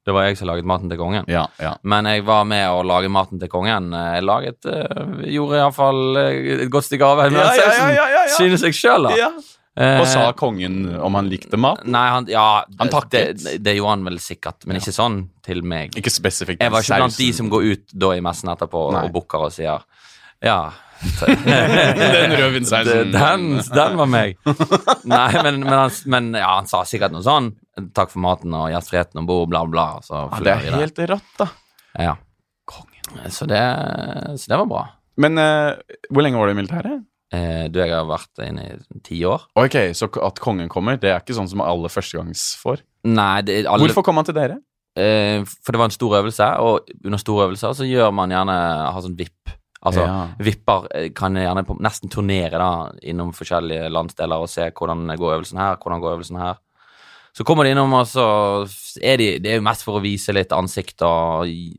[SPEAKER 3] det var jeg som laget maten til kongen.
[SPEAKER 4] Ja, ja.
[SPEAKER 3] Men jeg var med å lage maten til kongen. Eh, Jeg laget, eh, gjorde iallfall eh, et godt stykke arbeid med
[SPEAKER 4] Ja,
[SPEAKER 3] den
[SPEAKER 4] ja,
[SPEAKER 3] sausen.
[SPEAKER 4] ja, ja, ja.
[SPEAKER 3] Synes jeg sjøl, da.
[SPEAKER 4] ja.
[SPEAKER 3] Eh,
[SPEAKER 4] Og sa kongen om han likte mat?
[SPEAKER 3] Nei, han Ja,
[SPEAKER 4] Han takket.
[SPEAKER 3] det, det, det gjorde han vel sikkert, men ikke sånn til meg.
[SPEAKER 4] Ikke spesifikt.
[SPEAKER 3] Jeg var ikke blant de
[SPEAKER 4] sausen.
[SPEAKER 3] som går ut da i messen etterpå
[SPEAKER 4] Nei.
[SPEAKER 3] og booker og sier ja.
[SPEAKER 4] Den
[SPEAKER 3] Det-
[SPEAKER 4] rødvinssausen.
[SPEAKER 3] Den,
[SPEAKER 4] sånn-
[SPEAKER 3] den var meg. Nei, men, men, han, men ja, han sa sikkert noe sånn. Takk for maten og gjestfriheten om bord, bla, bla. og Så
[SPEAKER 4] Ja, det
[SPEAKER 3] fløy vi
[SPEAKER 4] er
[SPEAKER 3] der.
[SPEAKER 4] helt rått, da.
[SPEAKER 3] ja. Så det, så det var bra.
[SPEAKER 4] Men eh, hvor lenge var du i militæret?
[SPEAKER 3] Eh, du, jeg har vært inne i ti år.
[SPEAKER 4] Ok, Så k- at kongen kommer, det er ikke sånn som alle førstegangs får.
[SPEAKER 3] Nei, det, alle,
[SPEAKER 4] Hvorfor kom han til dere?
[SPEAKER 3] Eh, for det var en stor øvelse, og under store øvelser så gjør man gjerne har sånn vipp. Altså,
[SPEAKER 4] Ja.
[SPEAKER 3] Vipper eh, kan gjerne på, nesten turnere da, innom forskjellige landsdeler og se hvordan går øvelsen her, hvordan går øvelsen her. Så kommer de innom, og så er de Det er jo mest for å vise litt ansikt og gi-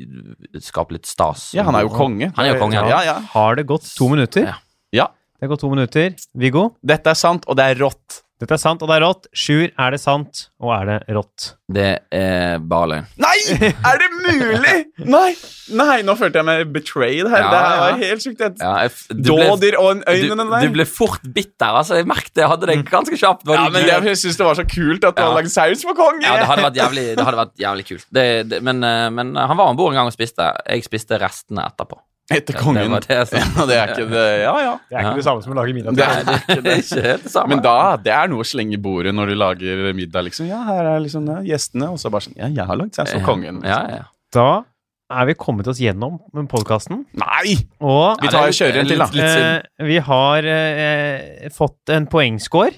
[SPEAKER 3] skape litt stas.
[SPEAKER 4] Ja, han er jo konge.
[SPEAKER 3] Han er jo konge, ja.
[SPEAKER 4] Ja, ja.
[SPEAKER 2] Har det gått to minutter?
[SPEAKER 3] Ja.
[SPEAKER 4] ja.
[SPEAKER 2] Det har gått to minutter. Viggo,
[SPEAKER 4] Dette er sant, og det er rått.
[SPEAKER 2] dette er sant, og det er rått. Sjur, er det sant, og er det rått?
[SPEAKER 3] Det er bare løgn.
[SPEAKER 4] Nei! Er det mulig?! Nei, nei, nå følte jeg meg betrayed her.
[SPEAKER 3] Ja,
[SPEAKER 4] det her
[SPEAKER 3] ja.
[SPEAKER 4] var helt sjukt. Jeg-
[SPEAKER 3] Ja, jeg f- du ble-
[SPEAKER 4] Dådyr og en
[SPEAKER 3] du,
[SPEAKER 4] øynene der.
[SPEAKER 3] du ble fort bitter, altså. Jeg merket det. Jeg hadde det ganske kjapt. Var
[SPEAKER 4] ja,
[SPEAKER 3] du-
[SPEAKER 4] men det, jeg syns det var så kult at du
[SPEAKER 3] Ja.
[SPEAKER 4] hadde lagd saus for kongen!
[SPEAKER 3] Ja, det hadde vært jævlig, eh, det hadde vært jævlig kult. Det, det, men, eh, men han var om bord en gang og spiste. Jeg spiste restene etterpå.
[SPEAKER 4] Etter kongen.
[SPEAKER 3] var det, så.
[SPEAKER 4] ja, det er ikke det. Ja, ja.
[SPEAKER 5] Det er ikke
[SPEAKER 3] Ja.
[SPEAKER 5] det samme som å lage middag.
[SPEAKER 4] Det er det ikke
[SPEAKER 3] Det er
[SPEAKER 4] det.
[SPEAKER 3] ikke helt det samme.
[SPEAKER 4] Men da, det er noe å slenge i bordet når du lager middag, liksom. Ja, her er liksom ja, gjestene, og så bare sånn Ja, jeg har lagd jeg som kongen. liksom.
[SPEAKER 3] Ja, ja.
[SPEAKER 2] Da er vi kommet oss gjennom podkasten,
[SPEAKER 4] Nei!
[SPEAKER 2] og
[SPEAKER 3] Ja, det er
[SPEAKER 4] Vi tar og
[SPEAKER 3] litt-
[SPEAKER 4] kjører en til, da.
[SPEAKER 3] litt- synd.
[SPEAKER 2] eh, vi har eh, fått en poengscore.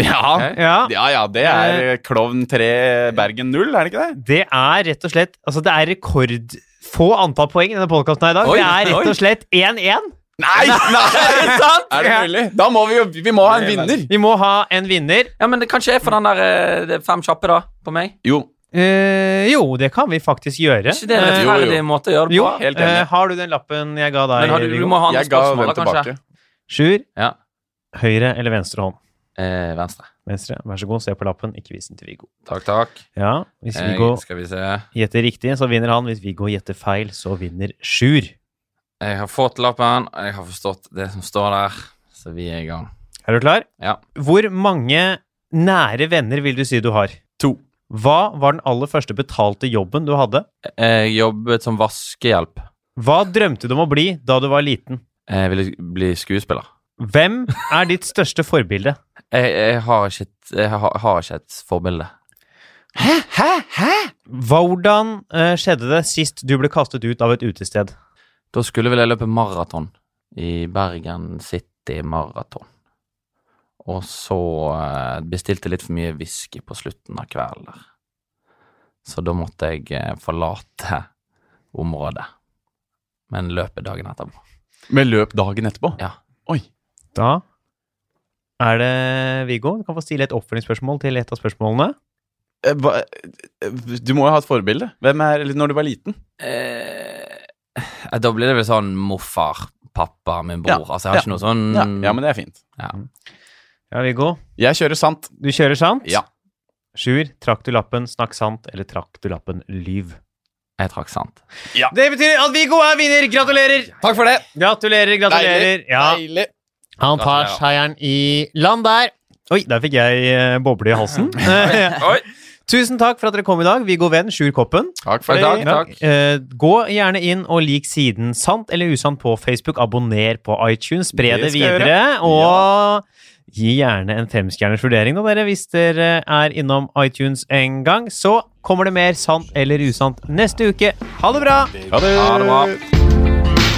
[SPEAKER 4] Eh, Ja,
[SPEAKER 3] Ok.
[SPEAKER 2] Ja.
[SPEAKER 4] ja, ja det er eh, Klovn 3 Bergen 0, er det ikke det?
[SPEAKER 2] Det er rett og slett Altså, det er rekordfå antall poeng i denne podkasten her i dag.
[SPEAKER 3] Oi,
[SPEAKER 2] det er rett
[SPEAKER 3] oi.
[SPEAKER 2] og slett 1-1.
[SPEAKER 4] Nei!
[SPEAKER 3] Nei, sant?
[SPEAKER 4] Er det mulig? Da må vi jo Vi må ha en vinner.
[SPEAKER 2] Vi må ha en vinner.
[SPEAKER 3] Ja, men det kan ikke jeg få den der eh, det er fem kjappe, da, på meg.
[SPEAKER 4] Jo.
[SPEAKER 2] Eh, jo, det kan vi faktisk gjøre.
[SPEAKER 3] Er ikke det en
[SPEAKER 2] Eh,
[SPEAKER 4] Jo, jo.
[SPEAKER 3] rettferdig måte å gjøre det
[SPEAKER 2] jo,
[SPEAKER 3] på? Eh,
[SPEAKER 4] Helt enig.
[SPEAKER 2] eh, har du den lappen jeg ga deg?
[SPEAKER 3] Men har du, du
[SPEAKER 2] Viggo?
[SPEAKER 3] må ha andre
[SPEAKER 4] Jeg ga
[SPEAKER 3] spørsmål,
[SPEAKER 4] den
[SPEAKER 3] da, kanskje.
[SPEAKER 4] tilbake.
[SPEAKER 2] Sjur,
[SPEAKER 3] Ja.
[SPEAKER 2] høyre eller venstre hånd?
[SPEAKER 3] Eh, venstre.
[SPEAKER 2] Venstre. Vær så god, se på lappen, ikke vis den til Viggo.
[SPEAKER 3] Takk, takk.
[SPEAKER 2] Ja, hvis
[SPEAKER 3] Eh,
[SPEAKER 2] Viggo
[SPEAKER 3] skal vi se Jeg
[SPEAKER 2] gjetter riktig, så vinner han. Hvis Viggo gjetter feil, så vinner Sjur.
[SPEAKER 3] har fått lappen, og jeg har forstått det som står der, så vi er i gang.
[SPEAKER 2] Er du klar?
[SPEAKER 3] Ja.
[SPEAKER 2] Hvor mange nære venner vil du si du har?
[SPEAKER 4] To.
[SPEAKER 2] Hva var den aller første betalte jobben du hadde?
[SPEAKER 3] Eh, Jeg jobbet som vaskehjelp. Eh,
[SPEAKER 2] Hva drømte du om å bli da du var liten?
[SPEAKER 3] Jeg ville bli skuespiller.
[SPEAKER 2] Hvem er ditt største forbilde?
[SPEAKER 3] Jeg, jeg, har, ikke et, jeg har, har ikke et forbilde.
[SPEAKER 2] Hvordan eh, skjedde det sist du ble kastet ut av et utested?
[SPEAKER 3] Da skulle vel jeg løpe maraton i Bergen City Maraton. Og så eh, bestilte jeg litt for mye whisky på slutten av kvelden der. Så da måtte jeg eh, forlate området. Men løpe dagen etterpå.
[SPEAKER 4] Med løp dagen etterpå.
[SPEAKER 3] Ja.
[SPEAKER 4] Oi.
[SPEAKER 2] Da er det Viggo. Du kan få stille et oppfølgingsspørsmål til et av spørsmålene.
[SPEAKER 4] Eh, hva- eh, Du må jo ha et forbilde. Hvem er eller Når du var liten?
[SPEAKER 3] Eh, da blir det vel sånn morfar, pappa, min bror.
[SPEAKER 4] Ja,
[SPEAKER 3] Altså jeg har ikke noe sånn
[SPEAKER 4] Ja, ja, men det er fint.
[SPEAKER 2] Ja, Viggo.
[SPEAKER 4] Jeg kjører sant.
[SPEAKER 2] Du kjører sant?
[SPEAKER 4] Ja.
[SPEAKER 2] Sjur, trakk du lappen, snakk sant, eller trakk du lappen, lyv?
[SPEAKER 3] Jeg trakk sant.
[SPEAKER 2] Det betyr at Viggo er vinner! Gratulerer!
[SPEAKER 4] Takk for det.
[SPEAKER 2] Gratulerer, gratulerer. Ja,
[SPEAKER 4] Deilig.
[SPEAKER 2] han tar
[SPEAKER 3] Gratulerer.
[SPEAKER 2] seieren i land der. Oi, der fikk jeg eh, boble i halsen.
[SPEAKER 3] Oi.
[SPEAKER 2] Tusen takk for at dere kom i dag. Viggo Venn, Sjur Koppen.
[SPEAKER 4] Takk
[SPEAKER 3] for det. Takk, takk.
[SPEAKER 2] Eh, gå gjerne inn og lik siden Sant eller usant på Facebook. Abonner på iTunes. Spre det,
[SPEAKER 4] Det skal jeg
[SPEAKER 2] videre. Og gi gjerne en femstjerners vurdering, da, dere, hvis dere er innom iTunes en gang. Så kommer det mer sant eller usant neste uke. Ha det bra!
[SPEAKER 4] Ha det.
[SPEAKER 3] Ha det bra.